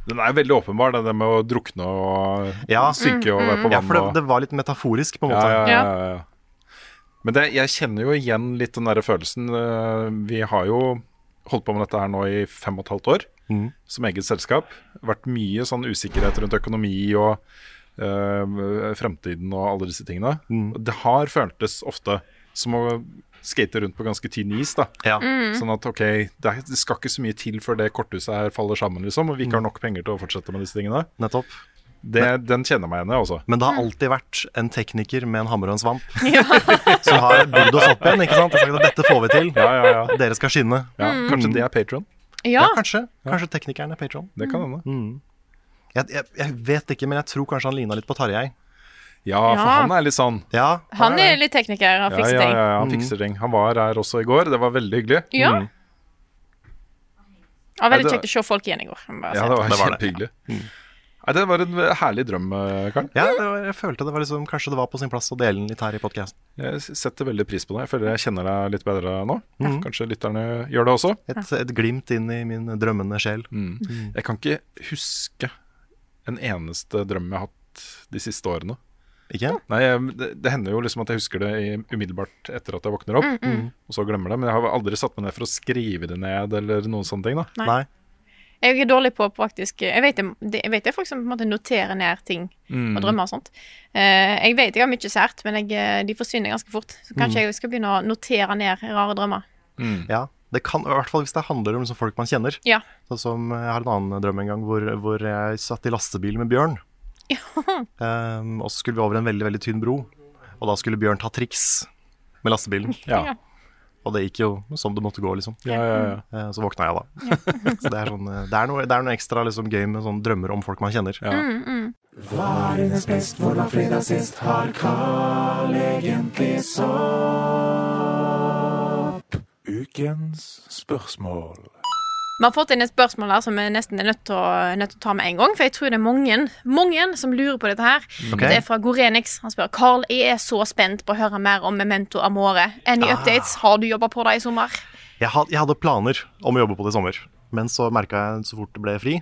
Den er veldig åpenbar, det der med å drukne og
Ja.
synke og
Mm.
være på
Ja,
vann.
for det,
og-
det var litt metaforisk, på en
ja,
måte.
ja, ja, ja, ja. Men det, jeg kjenner jo igjen litt den der følelsen. eh, Vi har jo holdt på med dette her nå i fem og et halvt år,
Mhm.
som eget selskap. Vært mye sånn usikkerhet rundt økonomi og eh, fremtiden og alle disse tingene.
Mhm.
Og Det har føltes ofte som å skater rundt på ganske tynn is. da
Mm.
Sånn at ok, det, er, det skal ikke så mye til før det korthuset her faller sammen, liksom, og vi ikke har nok penger til å fortsette med disse tingene.
Nettopp.
Det, den kjenner meg igjen i, altså.
Men det
Mm.
har alltid vært en tekniker med en hammer og en svamp som har bygd oss opp igjen. ikke sant? Og sagt at dette får vi til.
Ja, ja, ja.
Dere skal skinne.
Ja, kanskje det er patron.
Ja.
kanskje. Kanskje teknikeren er patron.
Det
Mm.
kan hende.
Jeg, jeg, jeg vet ikke, men jeg tror kanskje han lina litt på Tarjei.
Ja, for
Ja.
han er litt sånn
Ja,
Han er litt tekniker og
ja, ja,
fikser
ja,
ting.
ja, han fikser ting. Han var her også i går, det var veldig hyggelig.
Ja.
Mm.
Det var veldig
Ja, det-
kjekt å se folk igjen i går. må jeg bare si.
ja det var
Det var det.
kjempehyggelig. Nei, det var en herlig drøm, eh, Karen.
ja det var, jeg følte det var liksom, kanskje det var på sin plass å dele den litt her i podkasten.
Jeg setter veldig pris på deg. Jeg føler jeg kjenner deg litt bedre nå. Kanskje lytterne gjør det også.
Et, et glimt inn i min drømmende sjel.
Jeg kan ikke huske en eneste drøm jeg har hatt de siste årene.
Ikke?
Nei, jeg, det, det hender jo liksom at jeg husker det i, umiddelbart etter at jeg våkner
Mm,
opp, og så glemmer det. Men jeg har aldri satt meg ned for å skrive det ned eller noen sånne ting. da.
Nei.
Nei.
Jeg er dårlig på faktisk Jeg vet det, det- jeg vet det er folk som på en måte noterer ned ting og drømmer og sånt. Eh, jeg vet jeg har mye sært, men jeg, eh, de forsvinner ganske fort. Så kanskje jeg skal begynne å notere ned rare drømmer.
Ja, det kan, i hvert fall hvis det handler om liksom folk man kjenner.
Ja.
Sånn som eh, jeg har en annen drøm en gang hvor, hvor jeg satt i lastebil med Bjørn. Ehm, og så skulle vi over en veldig, veldig tynn bro. Og da skulle Bjørn ta triks med lastebilen.
Ja.
Og det gikk jo som det måtte gå, liksom.
Ja, ja, ja.
Eh, så våkna jeg, da. så det er, sånn, eh, det, er noe, det er noe ekstra liksom, gøy med sånne drømmer om folk man kjenner.
Ja.
Ukens spørsmål.
Vi har fått inn et spørsmål her som jeg nesten er nødt til å, nødt til å ta med en gang, for jeg tror det er mange, mange som lurer på dette her.
Ok.
Det er fra Gorenix. Han spør Carl, jeg er så spent på å høre mer om Memento Amore. Any updates? Har du jobba på det i sommer?
Jeg, had, jeg hadde planer om å jobbe på det i sommer, men så merka jeg så fort det ble fri.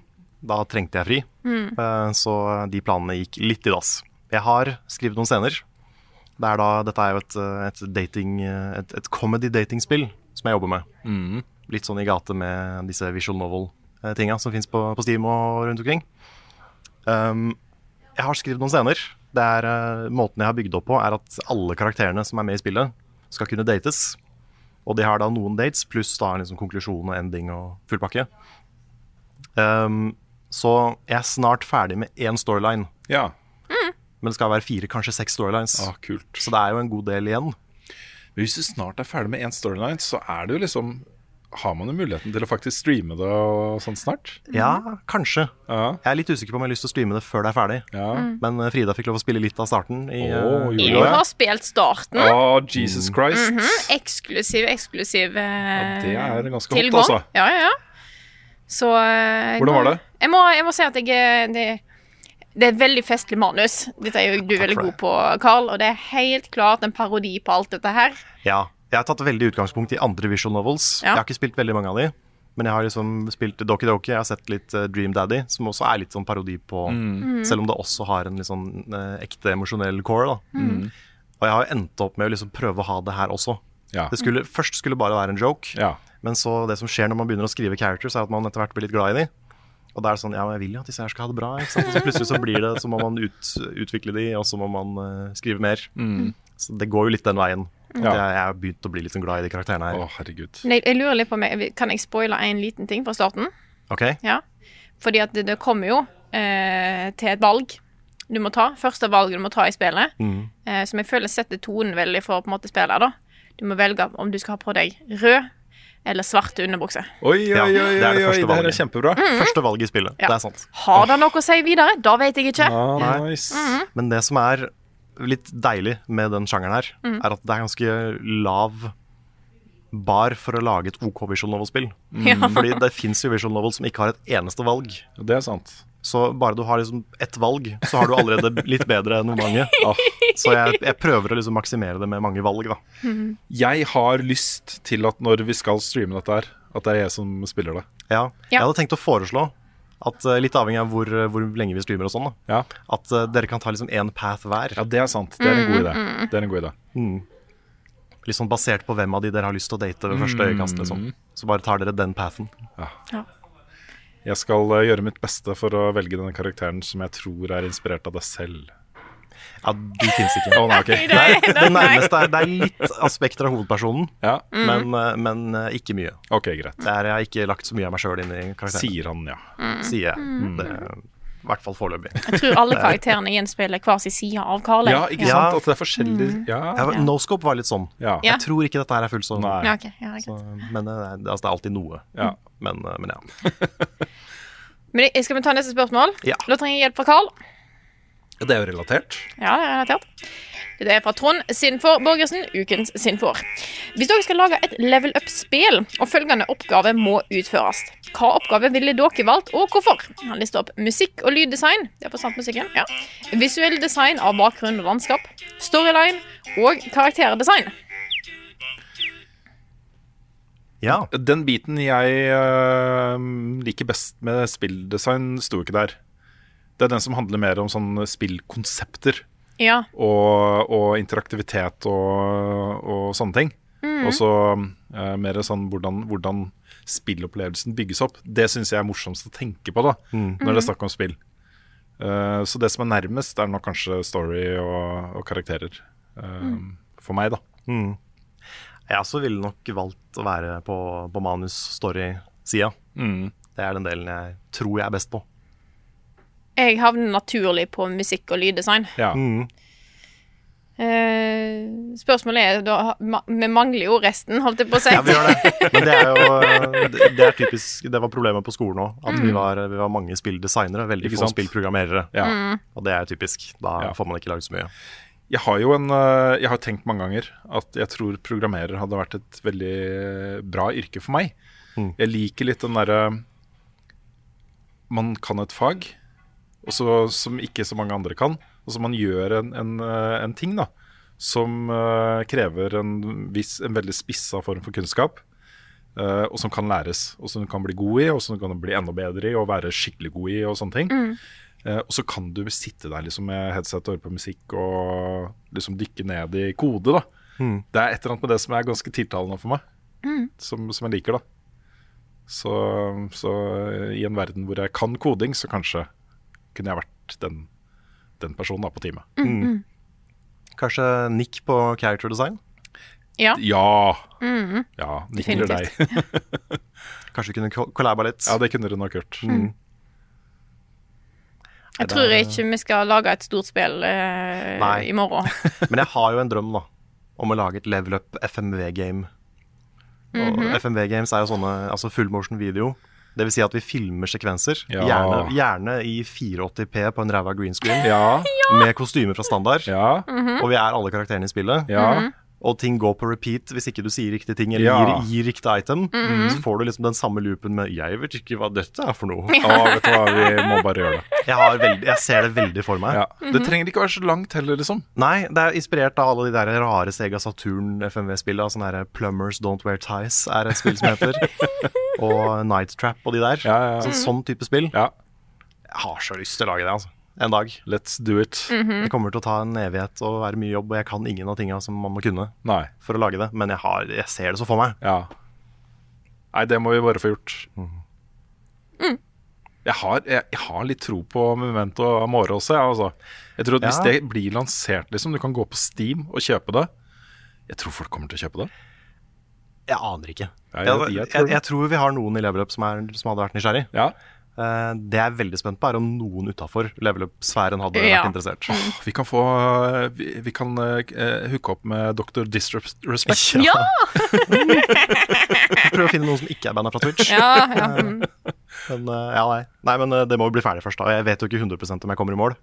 Da trengte jeg fri, Eh, så de planene gikk litt i dass. Jeg har skrevet noen scener. Det er da, dette er jo et, eh, et, dating, eh, et, et comedy-datingspill som jeg jobber med. Litt sånn i gate med disse visual novel-tinga som fins på, på Steam og rundt omkring. Um, jeg har skrevet noen scener. Det er, eh, måten jeg har bygd opp på, er at alle karakterene som er med i spillet, skal kunne dates. Og de har da noen dates, pluss da en liksom konklusjon og ending og full pakke. Ehm, så jeg er snart ferdig med én storyline,
ja.
men det skal være fire, kanskje seks storylines.
Ah, kult.
Så det er jo en god del igjen.
Men Hvis du snart er ferdig med én storyline, så er det jo liksom Har man jo muligheten til å faktisk streame det og sånn snart?
Ja, kanskje.
Ja.
Jeg er litt usikker på om jeg har lyst til å streame det før det er ferdig.
ja.
Men eh, Frida fikk lov å spille litt av starten. I, eh,
Å, gjorde
Jeg
du det?
har spilt starten.
Å, Jesus Christ.
Mm-hmm. Eksklusiv, eksklusiv eh,
Det er ganske hot,
tilgang.
altså.
Ja, ja, ja. Så eh,
Hvordan var
nå-
det?
Jeg må, jeg må si at jeg eh, det, det er et veldig festlig manus. Dette er jo du veldig
for
god på, Carl, og det er helt klart en parodi på alt dette her.
Ja. Jeg har tatt veldig utgangspunkt i andre visual novels.
Ja.
Jeg har ikke spilt veldig mange av de. Men jeg har liksom spilt Doki Doki, jeg har sett litt eh, Dream Daddy, som også er litt sånn parodi på Selv om det også har en litt sånn eh, ekte emosjonell core, da. Og jeg har jo endt opp med å liksom prøve å ha det her også.
Ja.
Det skulle, først skulle bare være en joke,
Ja.
men så det som skjer når man begynner å skrive characters, er at man etter hvert blir litt glad i de. Og da er det sånn, ja, men jeg vil jo at disse her skal ha det bra. Ikke sant? Så plutselig så blir det, så må man ut, utvikle de, og så må man eh, skrive mer. Så det går jo litt den veien. At
Ja.
jeg, jeg har begynt å bli litt sånn glad i de karakterene
Å,
her.
herregud.
Men jeg, jeg lurer litt på om jeg, Kan jeg spoile en liten ting fra starten?
Ok?
Ja. Fordi at det, det kommer jo eh, til et valg du må ta. Første valget du må ta i spillet,
Mm.
eh, som jeg føler setter tonen veldig for på en måte spillet. da. Du må velge om du skal ha på deg rød eller svart underbukse.
Oi, oi,
Ja,
oi,
det
oi,
er det
oi,
første
det her er
valget.
kjempebra.
Første valg i spillet,
Ja.
det er sant.
Har det noe å si videre? Da vet jeg ikke.
Ja, nice.
Men det som er litt deilig med den sjangeren her, er at det er ganske lav bar for å lage et OK visual novel-spill. Fordi det fins jo visual novel som ikke har et eneste valg.
Det er sant.
Så bare du har liksom ett valg, så har du allerede litt bedre enn mange. Så jeg, jeg prøver å liksom maksimere det med mange valg, da.
Jeg har lyst til at når vi skal streame dette her, at det er jeg som spiller det.
Ja.
Ja.
Jeg hadde tenkt å foreslå at eh, litt avhengig av hvor, hvor lenge vi streamer og sånn, da,
Ja,
at eh, dere kan ta liksom én path hver.
ja det er sant. Det er en god idé. Det er en god idé.
Litt sånn basert på hvem av de dere har lyst til å date ved første øyekast, liksom. Så bare tar dere den pathen.
Jeg skal eh, gjøre mitt beste for å velge den karakteren som jeg tror er inspirert av deg selv.
Ja, de fins ikke.
Å, nei, ok.
Det, er,
Nei,
det
nei.
nærmeste er, det er litt aspekter av hovedpersonen,
Ja.
men, eh, men eh, ikke mye.
Ok, greit.
Der jeg har ikke lagt så mye av meg sjøl inn i karakteren.
Sier han, Mm. ja.
Sier jeg. Mm. Det er I hvert fall foreløpig.
Jeg tror alle karakterene gjenspeiler hver sin side av Karl. jeg.
Ja, ikke
Ja.
sant? At det er forskjellig Ja.
Ja, men Noscope var litt sånn.
ja.
Ja.
Jeg tror ikke dette her er fullt sånn.
Nei.
Ja, ok, ja, greit.
Så, men eh, det, altså, det er alltid noe.
Ja.
Men, eh, men ja.
Men jeg- skal vi ta neste spørsmål?
Ja.
Da trenger jeg hjelp fra Karl.
Det er jo relatert.
Ja, det er relatert. Det er fra Trond Sinfor Borgersen, ukens Sinfor. Hvis dere skal lage et level up-spill, og følgende oppgave må utføres, hva oppgave ville dere valgt, og hvorfor? Han lister opp musikk og lyddesign, det er på sant musikken, ja. visuell design av bakgrunn og landskap, storyline og karakterdesign.
ja.
Den biten jeg eh, liker best med spilldesign, sto ikke der. Det er den som handler mer om sånne spillkonsepter
Ja,
og, og interaktivitet og, og sånne ting. Og så eh, mer sånn hvordan, hvordan spillopplevelsen bygges opp. Det syns jeg er morsomst å tenke på da, når det er snakk om spill. Eh, så det som er nærmest, er nok kanskje story og, og karakterer. eh, For meg, da.
Jeg også ville nok valgt å være på, på manus-story-sida.
Mm.
Det er den delen jeg tror jeg er best på.
jeg havner naturlig på musikk og lyddesign.
Ja.
Eh, spørsmålet er, da, ma- vi mangler jo resten, holdt jeg på å si.
Ja, vi gjør det. Men det er jo det det er typisk, det var problemet på skolen òg. At
Mm.
vi, var, vi var mange spilldesignere, veldig
Ikke
få
sant?
spillprogrammerere.
Ja.
Mm.
Og det er typisk. Da
Ja.
får man ikke laget så mye.
Jeg har jo en, eh, jeg har tenkt mange ganger at jeg tror programmerer hadde vært et veldig bra yrke for meg. Jeg liker litt den derre Man kan et fag og så- som ikke så mange andre kan. Og så man gjør en, en, eh, en ting da, som eh, krever en, viss, en veldig spissa form for kunnskap. eh, og som kan læres, og som du kan bli god i, og som du kan bli enda bedre i og være skikkelig god i. og sånne ting. Eh, og så kan du sitte der liksom, med headset og høre på musikk og liksom dykke ned i kode. da. Det er et eller annet med det som er ganske tiltalende for meg, som, som jeg liker. da. Så, så eh, i en verden hvor jeg kan koding, så kanskje kunne jeg vært den, den personen da på teamet.
Kanskje nikk på character design?
Ja.
Ja! ja nikker deg.
Definitivt.
Kanskje vi kunne ko- collaba litt?
Ja, det kunne dere nok gjort.
Jeg tror ikke vi skal lage et stort spill eh,
Nei.
i morgen.
Men jeg har jo en drøm da om å lage et level up FMV-game. Og FMV-games er jo sånne altså full motion video. Det vil si at vi filmer sekvenser,
Ja.
gjerne, gjerne i 480P på en ræva green screen,
Ja,
med kostyme fra standard,
ja,
og vi er alle karakterene i spillet.
ja.
Og ting går på repeat hvis ikke du sier riktig ting eller
Ja.
gir, gir riktig item. Så får du liksom den samme loopen med 'jeg vet ikke hva dette er for noe'.
Å, vet du hva, vi må bare gjøre det.
Jeg, har veldig, jeg ser det veldig for meg.
Ja. Det trenger ikke være så langt heller, liksom.
Nei, det er inspirert av alle de der rare Sega Saturn FMV-spillene. Sånn der Plumbers Don't Wear Ties er et spill som heter. og Night Trap og de der.
Ja, ja, ja.
Så, sånn type spill.
Ja,
Jeg har så lyst til å lage det, altså. En dag.
let's do it.
Mhm.
Det kommer til å ta en evighet og være mye jobb, og jeg kan ingen av tinga som man må kunne
Nei.
for å lage det. Men jeg, har, jeg ser det så for meg.
Ja. Nei, det må vi bare få gjort. Jeg, har, jeg, jeg har litt tro på Memento Amore også, jeg. Altså. Jeg tror at Hvis
Ja.
det blir lansert, liksom, du kan gå på Steam og kjøpe det. Jeg tror folk kommer til å kjøpe det.
Jeg aner ikke.
Ja, jeg-
jeg,
jeg
jeg,
tror det.
jeg, tror vi har noen i Level Up som, er, som hadde vært nysgjerrig.
Ja.
Eh, det jeg er veldig spent på, er om noen utafor Level Up-sfæren hadde
Ja.
vært interessert.
Vi kan få Vi, vi kan eh, eh, hooke opp med Dr. Disrespect.
Ja!
Prøv å finne noen som ikke er banda fra Twitch.
ja, ja. mm.
Men, eh, ja, nei. nei, men eh, det må jo bli ferdig først. da Jeg vet jo ikke 100 om jeg kommer i mål,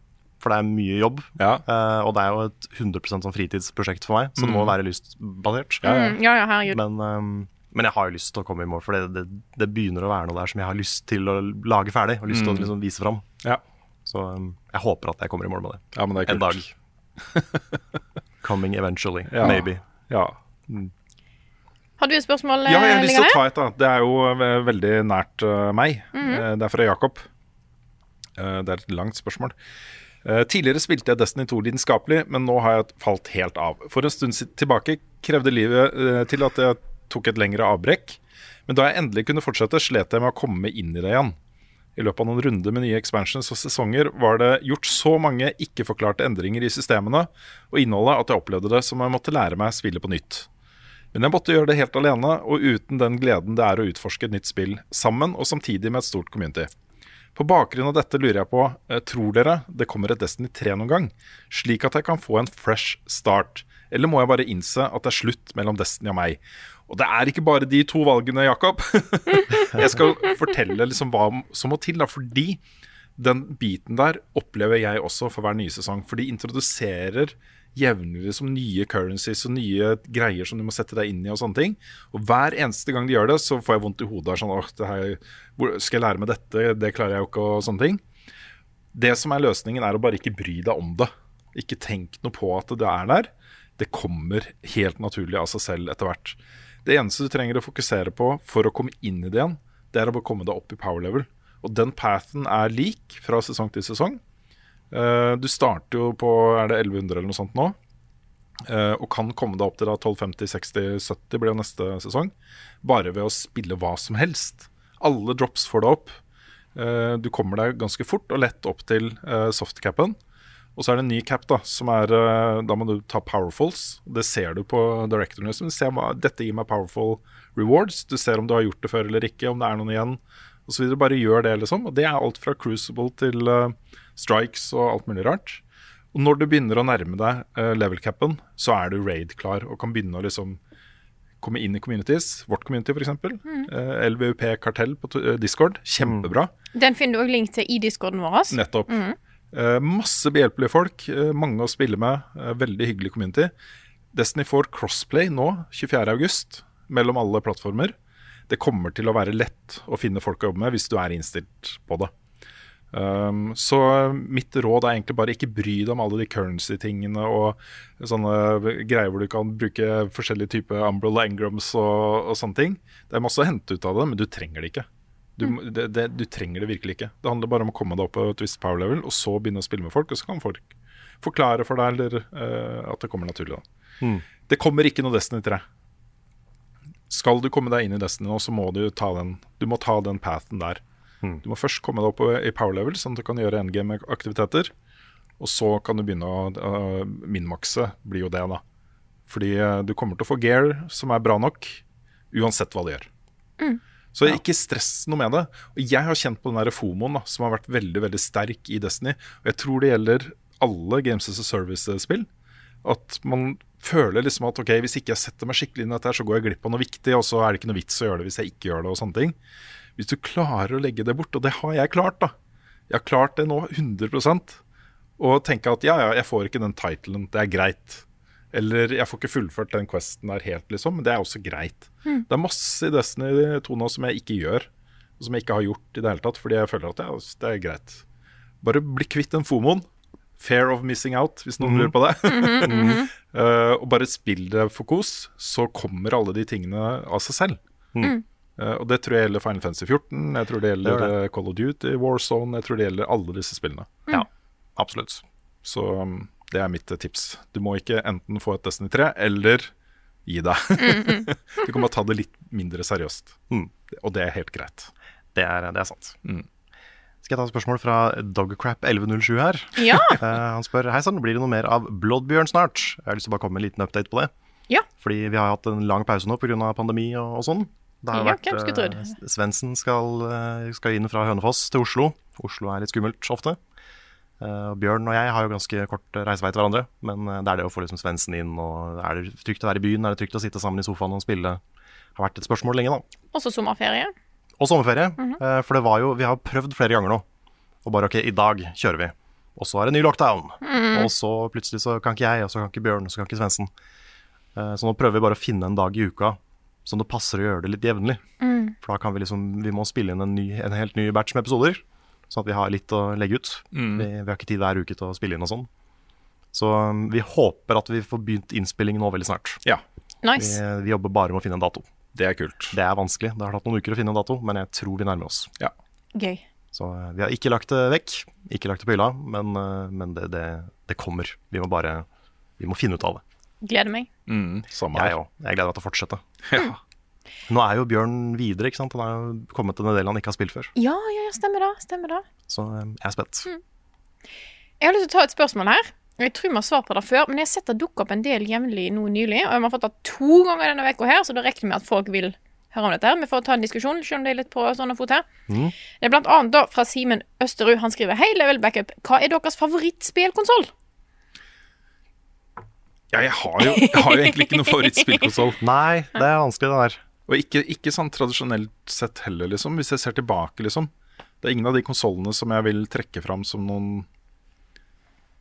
for det er mye jobb.
Ja.
eh, og det er jo et 100 sånn fritidsprosjekt for meg, så det må være lystbasert.
Mm, ja, ja, herregud.
Men, eh, men jeg har jo lyst til å komme i mål, for det, det, det begynner å være noe der som jeg har lyst til å lage ferdig og
Mm.
lyst til å liksom vise fram.
Ja.
Så eh, jeg håper at jeg kommer i mål med det
ja, men det er kult.
en dag. Coming eventually,
Ja.
maybe.
Ja.
Har du et spørsmål
ja, jeg har
eh,
lyst til å ta et, da. Det er jo eh, veldig nært eh, meg. Eh, Det er fra Jakob. Eh, Det er et langt spørsmål. Eh, Tidligere spilte jeg Destiny 2 lidenskapelig, men nå har jeg falt helt av. For en stund si- tilbake krevde livet eh, til at jeg tok et lengre avbrekk. Men da jeg endelig kunne fortsette, slet jeg med å komme inn i det igjen. I løpet av noen runder med nye expansions og sesonger var det gjort så mange ikke-forklarte endringer i systemene og innholdet at jeg opplevde det som om jeg måtte lære meg spillet på nytt. Men jeg måtte gjøre det helt alene og uten den gleden det er å utforske et nytt spill sammen og samtidig med et stort community. På bakgrunn av dette lurer jeg på, eh, tror dere det kommer et Destiny 3 noen gang? Slik at jeg kan få en fresh start? Eller må jeg bare innse at det er slutt mellom Destiny og meg? Og det er ikke bare de to valgene, Jakob. jeg skal fortelle liksom hva som må til, da, fordi den biten der opplever jeg også for hver nye sesong. For de introduserer jevnlig liksom nye currencies og nye greier som du må sette deg inn i. Og sånne ting. Og hver eneste gang de gjør det, så får jeg vondt i hodet. Sånn, Åh, det her, hvor, skal jeg lære meg dette? Det klarer jeg jo ikke, og sånne ting. Det som er løsningen, er å bare ikke bry deg om det. Ikke tenk noe på at det er der. Det kommer helt naturlig av seg selv etter hvert. Det eneste du trenger å fokusere på for å komme inn i det igjen, det er å bare komme deg opp i power level. Og den pathen er lik fra sesong til sesong. Eh, Du starter jo på er det 1100 eller noe sånt nå, eh, og kan komme deg opp til da 1250-60-70 blir jo neste sesong, bare ved å spille hva som helst. Alle drops får deg opp. Eh, Du kommer deg ganske fort og lett opp til eh, softcapen. Og så er det en ny cap, da, som er eh, Da må du ta powerfuls. Det ser du på directoren. liksom. Du ser hva- Dette gir meg powerful rewards. Du ser om du har gjort det før eller ikke, om det er noen igjen og så videre. Bare gjør det, liksom. Og det er alt fra Crucible til eh, Strikes og alt mulig rart. Og når du begynner å nærme deg eh, level capen, så er du raid-klar og kan begynne å liksom komme inn i communities. Vårt community, f.eks. Mm. LVUP Kartell på t- eh, Discord. Kjempebra.
Den finner du òg link til i discorden vår.
Nettopp. Eh, masse behjelpelige folk, eh, mange å spille med. eh, veldig hyggelig community. Destiny 4 crossplay nå, 24.8, mellom alle plattformer. Det kommer til å være lett å finne folk å jobbe med hvis du er innstilt på det. Um, så mitt råd er egentlig bare ikke bry deg om alle de currency-tingene og sånne greier hvor du kan bruke forskjellige typer umbrella engrams og, og sånne ting. Det er masse å hente ut av det, men du trenger det ikke. Du, må- det, det, du trenger det virkelig ikke. Det handler bare om å komme deg opp på et visst power level, og så begynne å spille med folk, og så kan folk forklare for deg eller eh, at det kommer naturlig. Da. Det kommer ikke noe Destiny 3. Skal du komme deg inn i Destiny nå, så må du ta den, du må ta den pathen der. Du må først komme deg opp i power level, sånn at du kan gjøre endgame-aktiviteter. Og så kan du begynne å øh, minmakse, blir jo det, da. Fordi øh, du kommer til å få gear som er bra nok, uansett hva du gjør. Så ikke stress noe med det. Og jeg har kjent på den der FOMOen da, som har vært veldig veldig sterk i Destiny. Og jeg tror det gjelder alle Games as a Service-spill. At man føler liksom at ok, hvis ikke jeg setter meg skikkelig inn i dette, her, så går jeg glipp av noe viktig, og så er det ikke noe vits å gjøre det hvis jeg ikke gjør det. og sånne ting. Hvis du klarer å legge det bort, og det har jeg klart, da. Jeg har klart det nå 100 og tenke at ja, ja, jeg får ikke den titlen, det er greit. Eller jeg får ikke fullført den questen der helt, liksom, men det er også greit. Det er masse i Destiny 2 nå som jeg ikke gjør, og som jeg ikke har gjort i det hele tatt, fordi jeg føler at ja, det er greit. Bare bli kvitt den fomoen. Fair of missing out, hvis
Mhm.
noen lurer på det. Eh, og bare spill det for kos, så kommer alle de tingene av seg selv. Eh, og det tror jeg gjelder Final Fantasy 14, jeg tror det gjelder
Mm. Det Mm. gjør
eh, Call of Duty, Warzone, jeg tror det gjelder alle disse spillene.
Ja, absolutt.
Så um, det er mitt eh, tips. Du må ikke enten få et Destiny 3 eller gi deg. du kan bare ta det litt mindre seriøst. Og det er helt greit.
Mm. Det er, det er sant.
Mm.
Skal jeg ta et spørsmål fra Dogcrap1107 her?
Ja.
Eh, han spør Hei sann, blir det noe mer av Bloodbjørn snart? Jeg har lyst til å bare komme med en liten update på det.
Ja.
Fordi vi har hatt en lang pause nå pga. pandemi og, og sånn. Det har
Ja,
vært
hvem skulle trodd?
eh, Svendsen skal, eh, skal inn fra Hønefoss til Oslo. Oslo er litt skummelt ofte. Eh, og Bjørn og jeg har jo ganske kort eh, reisevei til hverandre, men eh, det er det å få liksom Svendsen inn, og er det trygt å være i byen, er det trygt å sitte sammen i sofaen og spille, har vært et spørsmål lenge, da
Også sommerferie.
og sommerferie. eh, For det var jo, vi har prøvd flere ganger nå. Og bare ok, i dag kjører vi. Og så er det ny lockdown. Og så plutselig så kan ikke jeg, og så kan ikke Bjørn, og så kan ikke Svendsen. Eh, Så nå prøver vi bare å finne en dag i uka som det passer å gjøre det litt jevnlig. For da kan vi liksom, vi må spille inn en, ny, en helt ny batch med episoder. Sånn at vi har litt å legge ut. Vi, vi har ikke tid hver uke til å spille inn og sånn. Så um, vi håper at vi får begynt innspilling nå veldig snart.
Ja,
Nice.
Vi, vi jobber bare med å finne en dato.
det er kult.
Det er vanskelig. Det har tatt noen uker å finne en dato, men jeg tror vi nærmer oss.
Ja.
Gøy.
Så eh, vi har ikke lagt det vekk, ikke lagt det på hylla, men, eh, men det, det, det kommer. Vi må bare vi må finne ut av det.
Gleder meg.
Samme
Jeg
her.
òg. Jeg gleder meg til å fortsette. Nå er jo Bjørn videre, ikke sant? Han er jo kommet til en del han ikke har spilt før.
Ja, ja, ja, stemmer det. Stemmer det.
Så eh, jeg er spent.
Jeg har lyst til å ta et spørsmål her. Jeg tror vi har svart på det før, men jeg har sett det dukke opp en del jevnlig nå nylig. Og vi har fått det to ganger denne uka her, så da regner vi med at folk vil høre om dette. her. Vi får ta en diskusjon, selv om det er litt på sånn og fot her.
Mhm.
Det er blant annet da fra Simen Østerud. Han skriver Hei, Level Backup. Hva er deres favorittspillkonsoll?
Ja, jeg har jo, jeg har jo egentlig ikke noen favorittspillkonsoll.
Nei, det er vanskelig, det der.
Og ikke, ikke sånn tradisjonelt sett heller, liksom. Hvis jeg ser tilbake, liksom. Det er ingen av de konsollene som jeg vil trekke fram som noen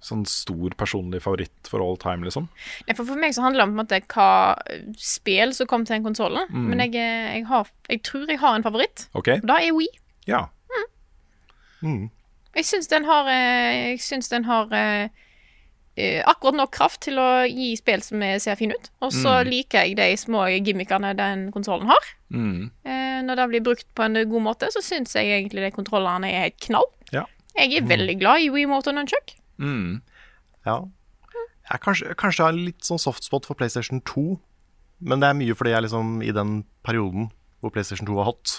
sånn stor personlig favoritt for all time, liksom.
Nei, For, for meg så handler det om på en måte hva eh, spill som kom til den konsollen. Men jeg, eh, jeg, har, jeg tror jeg har en favoritt.
OK?
Og Da er Wii.
Ja.
Jeg syns den har, eh, jeg syns den har eh, eh, akkurat nok kraft til å gi spill som eh, ser fine ut. Og så liker jeg de små gimmickene den konsollen har.
Mm.
Eh, når det blir brukt på en god måte, så syns jeg egentlig de kontrollerne er helt knall.
Ja.
Jeg er veldig glad i WeMote og Nunchuck.
Mm.
Ja. Jeg kanskje, kanskje jeg har litt sånn softspot for PlayStation 2, men det er mye fordi jeg liksom i den perioden hvor PlayStation 2 var hot,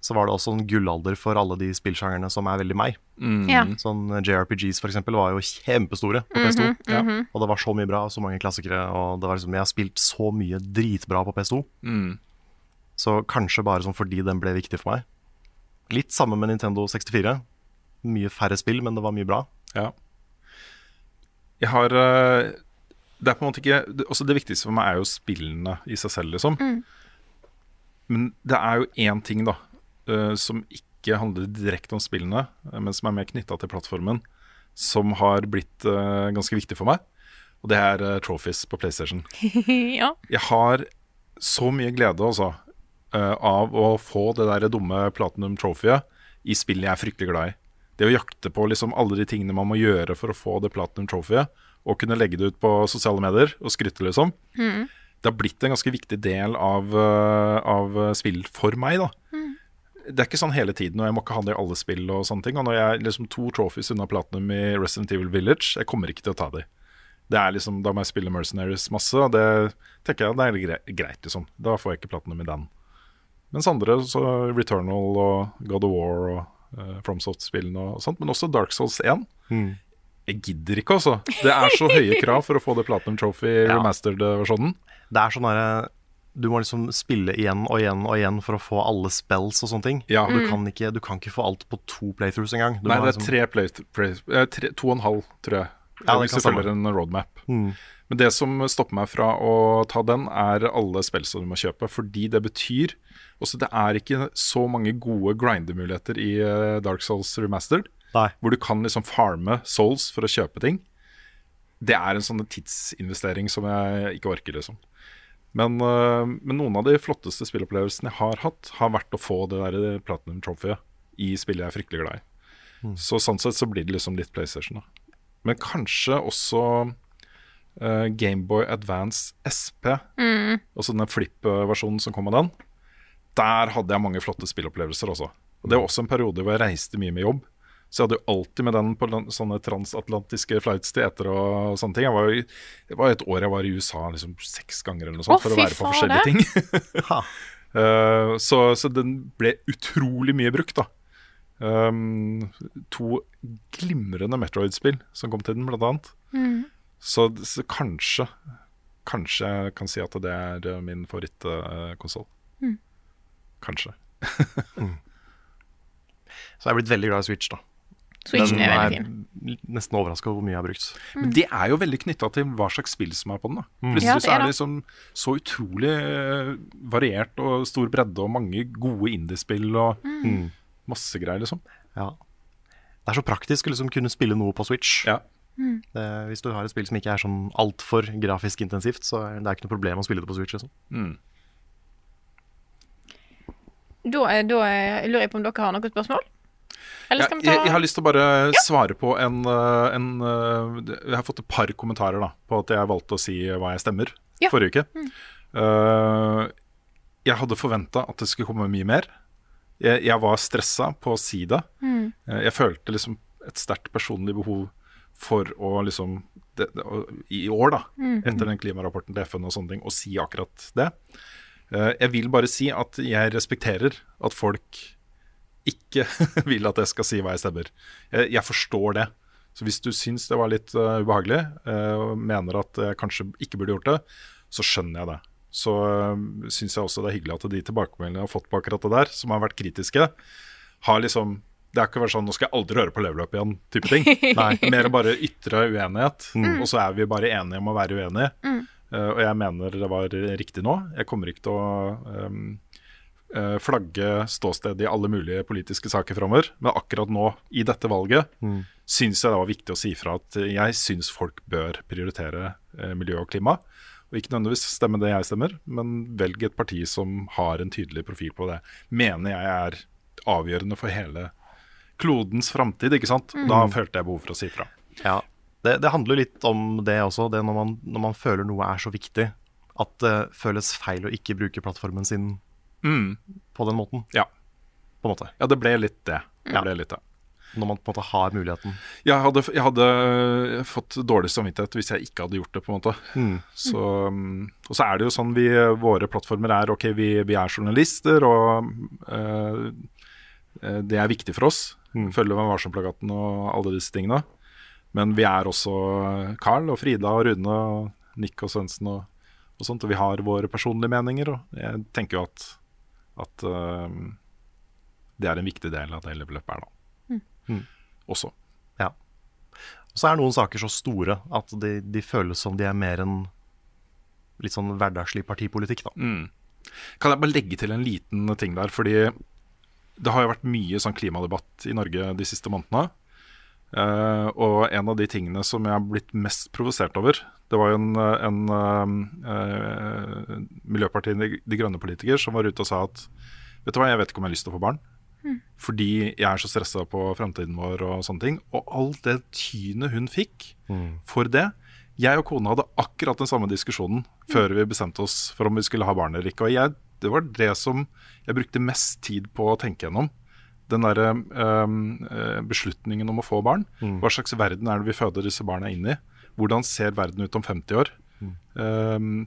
så var det også en gullalder for alle de spillsjangerne som er veldig meg.
Mm.
Ja.
Sånn JRPGs for eksempel var jo kjempestore på PS2,
Mhm,
og det var så mye bra og så mange klassikere, og det var liksom, jeg har spilt så mye dritbra på PS2,
Mm.
så kanskje bare sånn fordi den ble viktig for meg. Litt samme med Nintendo 64. Mye færre spill, men det var mye bra.
Ja. Jeg har eh, Det er på en måte ikke det- Også det viktigste for meg er jo spillene i seg selv, liksom. Men det er jo én ting, da, eh, som ikke handler direkte om spillene, eh, men som er mer knytta til plattformen, som har blitt eh, ganske viktig for meg. Og det er eh, trophies på PlayStation.
ja.
Jeg har så mye glede, altså, eh, av å få det der dumme Platinum Trophy-et i spill jeg er fryktelig glad i. Det å jakte på liksom alle de tingene man må gjøre for å få det Platinum Trophy-et, og kunne legge det ut på sosiale medier og skryte, liksom. Det har blitt en ganske viktig del av, eh, av eh, spill for meg, da. Det er ikke sånn hele tiden, og jeg må ikke ha det i alle spill og sånne ting. Og når jeg er liksom to trophies unna Platinum i Resident Evil Village, jeg kommer ikke til å ta de. Det er liksom, Da må jeg spille Mercenaries masse, og det tenker jeg det er gre- greit, liksom. Da får jeg ikke platinum i den. Mens andre, så Returnal og God of War og uh, FromSoft-spillene og sånt, men også Dark Souls 1. Jeg gidder ikke, altså. Det er så høye krav for å få det Platinum Trophy remastered-versjonen.
Det er sånn derre Du må liksom spille igjen og igjen og igjen for å få alle spells og sånne ting.
Ja.
Du, kan
Mm.
ikke, du kan ikke få alt på to playthroughs engang. liksom-
Nei, det er tre play, play, eh, tre, to og en halv, tror jeg.
Ja,
hvis
det kan Mm.
du følger en roadmap. Men det som stopper meg fra å ta den, er alle spill som du må kjøpe. Fordi det betyr Også det er ikke så mange gode grindemuligheter i eh, Dark Souls Remastered.
Nei.
Hvor du kan liksom farme souls for å kjøpe ting. Det er en sånn tidsinvestering som jeg ikke orker, liksom. Men, eh, men noen av de flotteste spillopplevelsene jeg har hatt, har vært å få det der eh, Platinum Trophy-et i spillet jeg er fryktelig glad i. Så sånn sett så blir det liksom litt PlayStation, da. Men kanskje også eh, Gameboy Advance SP,
Mm.
altså den flip-versjonen som kom av den. Der hadde jeg mange flotte spillopplevelser også. Og det var også en periode hvor jeg reiste mye med jobb. Så jeg hadde jo alltid med den på lan- sånne transatlantiske flights til etter og sånne ting. Jeg var jo, i- det var et år jeg var i USA liksom seks ganger eller noe sånt
Å,
for å
fy
være på
fader.
forskjellige ting.
Ha.
Eh, så, så den ble utrolig mye brukt, da. Um, to glimrende Metroid-spill som kom til den, blant annet.
Mm.
Så, så kanskje Kanskje jeg kan si at det er eh, min favorittkonsoll.
Mm.
Kanskje.
Så jeg er blitt veldig glad i Switch, da.
Switchen er veldig fin.
jeg er nesten overraska over hvor mye jeg har brukt.
Men det er jo veldig knytta til hva slags spill som er på den. da Plutselig
Mm. Ja, det
så
er
er
det.
det liksom så utrolig eh, variert og stor bredde og mange gode indiespill og
Mm.
masse greier, liksom.
Ja. Det er så praktisk å liksom kunne spille noe på Switch.
Ja.
Det, hvis du har et spill som ikke er sånn altfor grafisk intensivt, så er det er ikke noe problem å spille det på Switch. Liksom.
Da, eh, da eh, lurer jeg på om dere har noe spørsmål? Eller skal
jeg,
vi ta
jeg, jeg har lyst til å bare svare på en, eh, en eh, Jeg har fått et par kommentarer da på at jeg valgte å si hva jeg stemmer
Ja. Mm.
forrige uke. Eh, jeg hadde forventa at det skulle komme mye mer. Jeg, jeg var stressa på å si det.
Mm.
Eh, jeg følte liksom et sterkt personlig behov for å liksom
Mm.
det, det, å- I år, da, etter den klimarapporten til FN og sånne ting, å si akkurat det. Eh, Jeg vil bare si at jeg respekterer at folk ikke vil at jeg skal si hva jeg stemmer. Jeg, jeg forstår det. Så hvis du syns det var litt eh, ubehagelig, eh, og mener at jeg kanskje ikke burde gjort det, så skjønner jeg det. Så uh, syns jeg også det er hyggelig at de tilbakemeldingene jeg har fått på akkurat det der, som har vært kritiske, har liksom det har ikke vært sånn 'nå skal jeg aldri høre på level-up igjen' type ting. Nei, Mer bare ytre uenighet, og så er vi bare enige om å være uenige. Eh, og jeg mener det var riktig nå. Jeg kommer ikke til å ehm, eh, flagge ståstedet i alle mulige politiske saker framover, men akkurat nå, i dette valget, syns jeg det var viktig å si fra at jeg syns folk bør prioritere eh, miljø og klima. Og ikke nødvendigvis stemme det jeg stemmer, men velg et parti som har en tydelig profil på det. Mener jeg er avgjørende for hele klodens framtid, ikke sant. Da følte jeg behov for å si fra.
Ja, det, det handler jo litt om det også, det når man, når man føler noe er så viktig at det føles feil å ikke bruke plattformen sin på den måten,
Mm. Ja.
på en måte.
ja, det ble litt det. det,
Ja.
ble litt det.
Når man på en måte har muligheten.
Jeg hadde, jeg hadde eh, fått dårlig samvittighet hvis jeg ikke hadde gjort det. på en måte så, um, Og så er det jo sånn vi, våre plattformer er Ok, vi, vi er journalister, og eh, eh, det er viktig for oss. Følge Vær varsom-plakaten og alle disse tingene. Men vi er også Carl og Frida og Rune og Nick og Svendsen og, og sånt. Og vi har våre personlige meninger, og jeg tenker jo at, at eh, det er en viktig del av det hele løpet er, da. Også.
Ja. Og så er noen saker så store at de, de føles som de er mer enn litt sånn hverdagslig partipolitikk, da.
Kan jeg bare legge til en liten ting der? Fordi det har jo vært mye sånn klimadebatt i Norge de siste månedene. Eh, og en av de tingene som jeg har blitt mest provosert over Det var jo en, en eh, eh, Miljøpartiet De- De Grønne-politiker som var ute og sa at Vet du hva, jeg vet ikke om jeg har lyst til å få barn. Fordi jeg er så stressa på fremtiden vår og sånne ting. Og alt det tynet hun fikk for det Jeg og kona hadde akkurat den samme diskusjonen før vi bestemte oss for om vi skulle ha barn eller ikke. Og jeg, det var det som jeg brukte mest tid på å tenke gjennom. Den derre øhm, øh, beslutningen om å få barn. Hva slags verden er det vi føder disse barna inn i? Hvordan ser verden ut om 50 år? Øhm,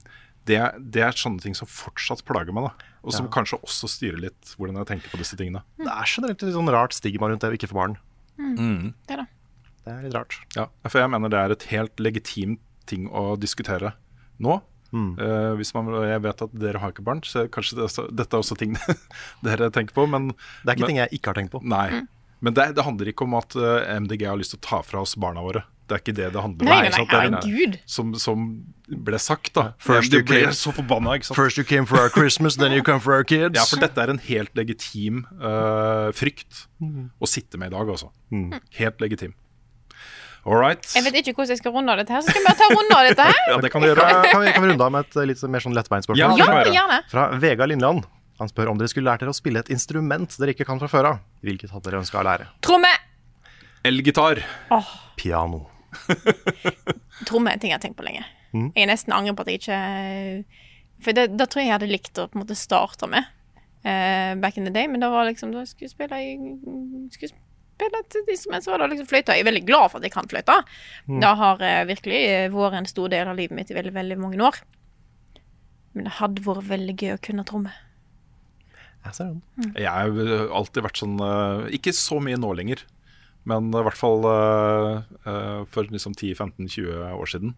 det, det er sånne ting som fortsatt plager meg, da. Og som kanskje også styrer litt hvordan jeg tenker på disse tingene.
Det er generelt et litt sånn rart stigma rundt det å ikke få barn.
Mm. Det da.
Det er litt rart.
Ja, for jeg mener det er et helt legitimt ting å diskutere nå.
Mm.
Eh, hvis man, og jeg vet at dere har ikke barn, så kanskje det er også, dette er også ting dere tenker på. Men
Det er ikke
men,
ting jeg ikke har tenkt på.
Nei.
Mm.
Men det, det handler ikke om at eh, MDG har lyst til å ta fra oss barna våre. Det er ikke det det handler om.
Nei, nei,
ikke sant?
nei,
Det er-
herregud.
Som, som ble sagt, da.
First
du
you
ble
came-
så forbanna, ikke sant.
First you came for our Christmas, then you come for our kids.
Ja, for dette er en helt legitim eh, frykt
Mm.
å sitte med i dag, altså. Helt legitim. All right.
Mm. Jeg vet ikke hvordan jeg skal runde av dette her, så skal jeg bare ta og runde av dette her.
Ja, det kan du gjøre.
Kan, kan, vi, kan vi runde av med et eh, litt mer sånn lettbeint spørsmål?
Ja,
kan vi gjøre.
gjerne.
Fra Vegard Lindland. Han spør om dere skulle lært dere å spille et instrument dere ikke kan fra før av. Hvilket hadde dere ønska å lære?
Tromme.
Elgitar.
Piano.
Tromme er en ting jeg har tenkt på lenge. Jeg er nesten angrer på at jeg ikke For det, da tror jeg jeg hadde likt å på en måte starte med eh, back in the day, men da var liksom da skulle jeg spille i- skulle spille et instrument, så var det liksom fløyta. Jeg er veldig glad for at jeg kan fløyta. Det har eh, virkelig eh, vært en stor del av livet mitt i veldig, veldig mange år. Men det hadde vært veldig gøy å kunne tromme.
Jeg ser den.
Jeg har jo alltid vært sånn eh, Ikke så mye nå lenger, men i hvert fall eh, eh, for liksom 10-15-20 år siden.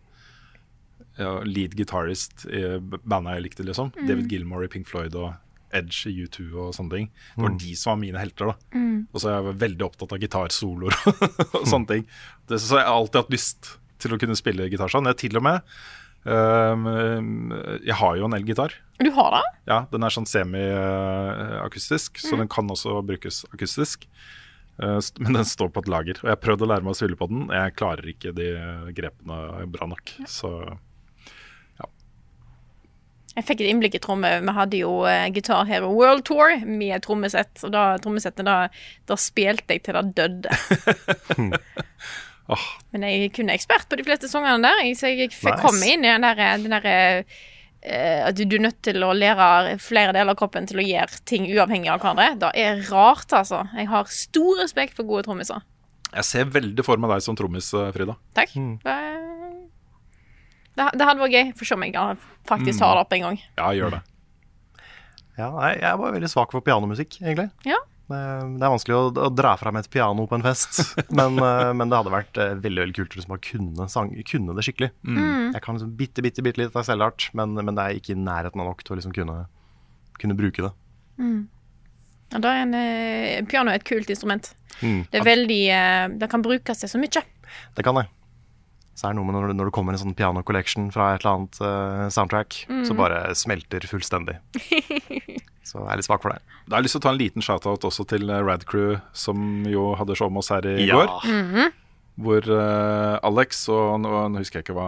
Ja, lead guitarist i b- bandet jeg likte, liksom. David Gilmore i Pink Floyd og Edge i U2 og sånne ting. Det var de som var mine helter, da. Og så er jeg veldig opptatt av gitarsoloer og sånne ting. Det, så jeg har alltid hatt lyst til å kunne spille gitar sånn. Jeg til og med eh, Jeg har jo en elgitar.
Du har det?
Ja, den er sånn semi-akustisk, så den kan også brukes akustisk. Eh, st- Men den står på et lager, og jeg har prøvd å lære meg å spille på den. Jeg klarer ikke de grepene bra nok, så
Jeg fikk et innblikk i tromme. Vi hadde jo eh, Guitar Hero World Tour med trommesett. Og da trommesettet, da, da spilte jeg til det døde.
Åh.
Men jeg kunne ekspert på de fleste sangene der. Jeg, så jeg fikk
Nice.
komme inn i den der, den der eh, at du, du er nødt til å lære flere deler av kroppen til å gjøre ting uavhengig av hverandre. Det er rart, altså. Jeg har stor respekt for gode trommiser.
Jeg ser veldig for meg deg som trommis, eh, Frida.
Takk. Det,
Hmm.
det, det hadde vært gøy. Få se om jeg faktisk har det opp en gang.
Ja, gjør det.
Ja, nei, jeg var veldig svak for pianomusikk, egentlig.
Ja.
Det det er vanskelig å, å dra fram et piano på en fest, men, eh, men det hadde vært eh, veldig veldig kult hvis man kunne, sang, kunne det skikkelig.
Mm.
Jeg kan liksom bitte, bitte, bitte litt av selvart, men, men det er ikke i nærheten av nok til å liksom kunne, kunne bruke det.
Mm. Ja, da er en, eh, piano er et kult instrument.
Hmm.
Mm.
Det er veldig eh, Det kan brukes til så mye.
Det kan det. Så er det noe med når, når det kommer en sånn piano collection fra et eller annet eh, soundtrack,
Mm.
så bare smelter fullstendig. Så jeg er litt svak for det.
Da har jeg lyst til å ta en liten shout-out også til eh, Rad Crew, som jo hadde show med oss her i
Ja.
går. Hvor eh, Alex og nå, nå husker jeg ikke hva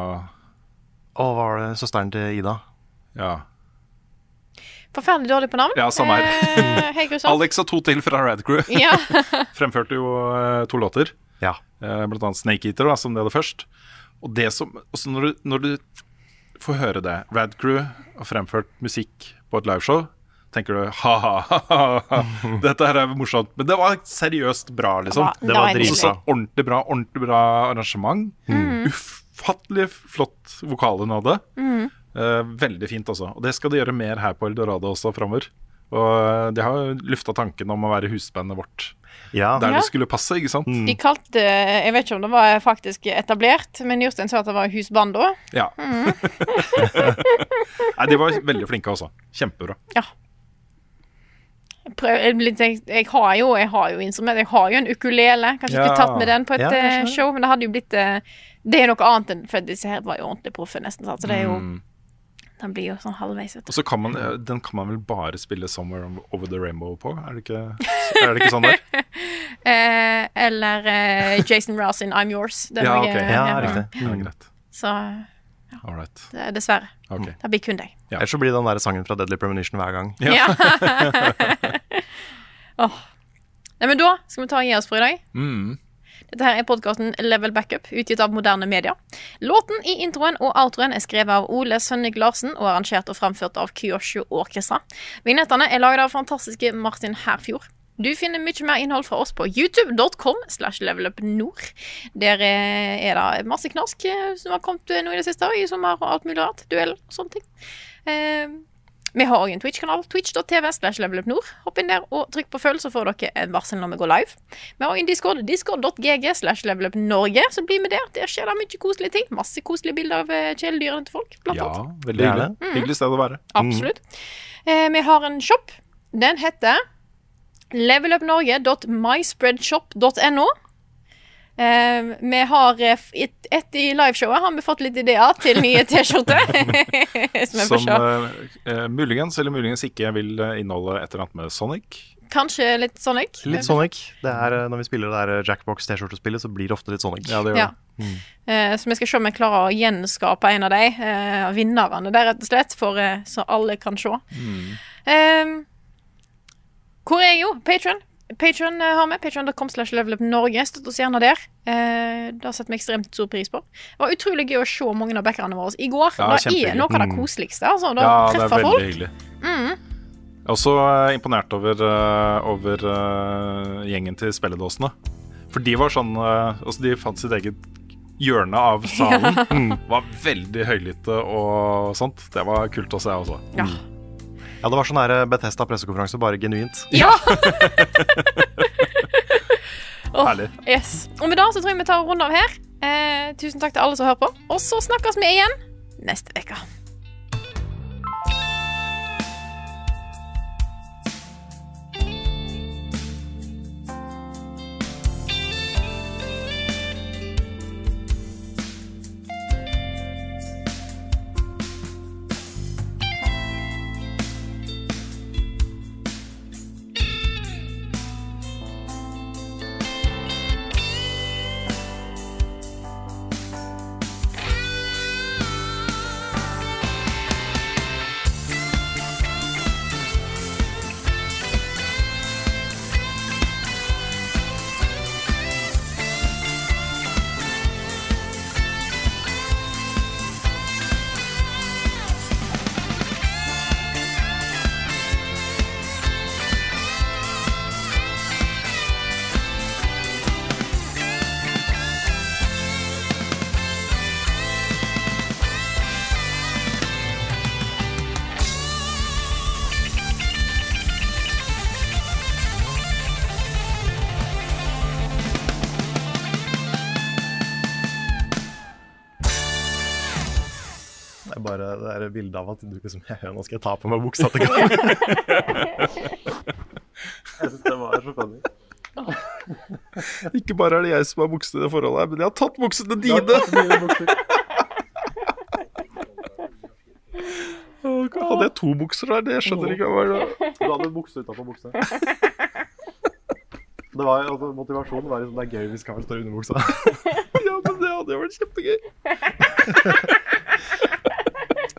Og var det søsteren til Ida?
Ja,
Forferdelig dårlig på navn.
ja samme her.
Eh, Hei, grusomt.
Alex og to til fra Rad Crew.
Ja.
Fremførte jo eh, to låter.
Ja.
Eh, Blant annet Snake Eater, da, som de hadde først. Og det som, også når, du, når du får høre det Rad Crew har fremført musikk på et liveshow, tenker du ha-ha-ha, dette her er morsomt. Men det var seriøst bra, liksom.
Det var- det var
Og så-
nydelig.
Ordentlig bra, ordentlig bra arrangement. Ufattelig flott vokal hun hadde.
Mm.
Eh, veldig fint, altså. Og det skal de gjøre mer her på Eldorado også framover. Og eh, de har jo lufta tanken om å være husbandet vårt
Ja.
der
Ja.
det skulle passe, ikke sant?
De kalte Jeg vet ikke om det var faktisk etablert, men Jostein sa at det var husbando.
Ja. Nei, de var veldig flinke, altså. Kjempebra.
Prøv, jeg, blir litt- jeg, jeg, har jo, jeg har jo instrument. Jeg har jo en ukulele. Kanskje
Ja.
ikke tatt med den på et
Ja, jeg
eh,
skjønner.
show, men det hadde jo blitt eh, Det er noe annet enn For disse her var jo ordentlig proffe, nesten. sant? Så det er jo
Mm.
Den blir jo sånn halvveis. vet du.
Og så kan man, eh, Den kan man vel bare spille 'Somewhere Over The Rainbow' på? Er det ikke, er det ikke sånn der?
Eh, eller eh, Jason Rouse in I'm Yours. Den
Ja,
er
ok.
jeg-
Ja,
ja.
riktig. Mm.
Ja, greit.
Så
All right.
det, dessverre.
Ok.
Mm.
Det blir kun deg.
Ja.
Ellers så blir det den der sangen fra Deadly Premonition hver gang.
Ja.
Ja. Åh. Nei, men da skal vi ta og gi oss for i dag.
Mm.
Dette her er podkasten Level Backup, utgitt av moderne media. Låten i introen og outroen er skrevet av Ole Sønnik Larsen og arrangert og framført av Kyosho Orkestra. Vignettene er laget av fantastiske Martin Herfjord. Du finner mye mer innhold fra oss på youtube.com slash levelupnord. Der eh, er det masse knask eh, som har kommet eh, nå i det siste, i sommer og alt mulig rart. Duell og sånne ting. Eh, vi har òg en Twitch-kanal, twitch.tv. slash levelupnord. Hopp inn der og trykk på følg, så får dere en varsel når vi går live. Vi har en Discord, discord.gg slash levelupnorge, så bli med der. Der skjer det mye koselige ting. Masse koselige bilder av eh, kjæledyrene til folk, blant
ja, Mm.
annet.
veldig
Gjerne.
hyggelig. Hyggelig sted å være.
Absolutt. Eh, vi har en shop. Den heter levelupnorge.myspreadshop.no. Eh, vi har eh, f- et, etter i liveshowet har vi fått litt ideer til nye T-skjorter. som vi får
Som
se.
eh, eh, muligens eller muligens ikke vil eh, inneholde et eller annet med Sonic.
Kanskje litt sånn, Sonic.
Litt Sonic. Det er, eh, når vi spiller det der eh, Jackbox T-skjortespillet, så blir det ofte litt Sonic.
Ja, det gjør
Ja.
det.
Eh, så vi skal se om jeg klarer å gjenskape en av de eh, vinnerne der, rett og slett, for, eh, så alle kan se.
Mm.
Eh, hvor er jeg jo? Patron. Patron har vi. Patron.com slash levelupnorge. Støtt oss gjerne der. Eh, det setter vi ekstremt stor pris på. Det var utrolig gøy å se mange av backerne våre i går.
Ja,
det
kjempehyggelig.
er noe av det
Mm.
koseligste. Altså. Da
Ja, det er
treffer
veldig
folk.
hyggelig. Jeg er også eh, imponert over, eh, over eh, gjengen til spilledåsene. For de var sånn eh, Altså, de fant sitt eget hjørne av salen. Mm. Var veldig høylytte og sånt. Det var kult å se, altså.
Ja.
Ja, det var sånn her Bethesda pressekonferanse, bare genuint.
Åh,
Herlig.
Yes. Og med det så tror jeg vi tar en runde av her. Eh, tusen takk til alle som hører på. Og så snakkes vi igjen neste uke.
Thank
bare det der bildet av at du liksom «Hehe, Nå skal jeg ta på meg buksa til gangen.
Jeg syns det var så funny.
Ikke bare er det jeg som har bukser i det forholdet her, men jeg har tatt buksene
Du har
dine!
tatt mine bukser.
Åh, Hadde jeg to bukser der? Det skjønner jeg ikke hva det var.
Du hadde bukse utenfor bukse. Det var, altså, motivasjonen var liksom, det er gøy hvis Karl står under buksa.
Ja, men det hadde jo vært kjempegøy.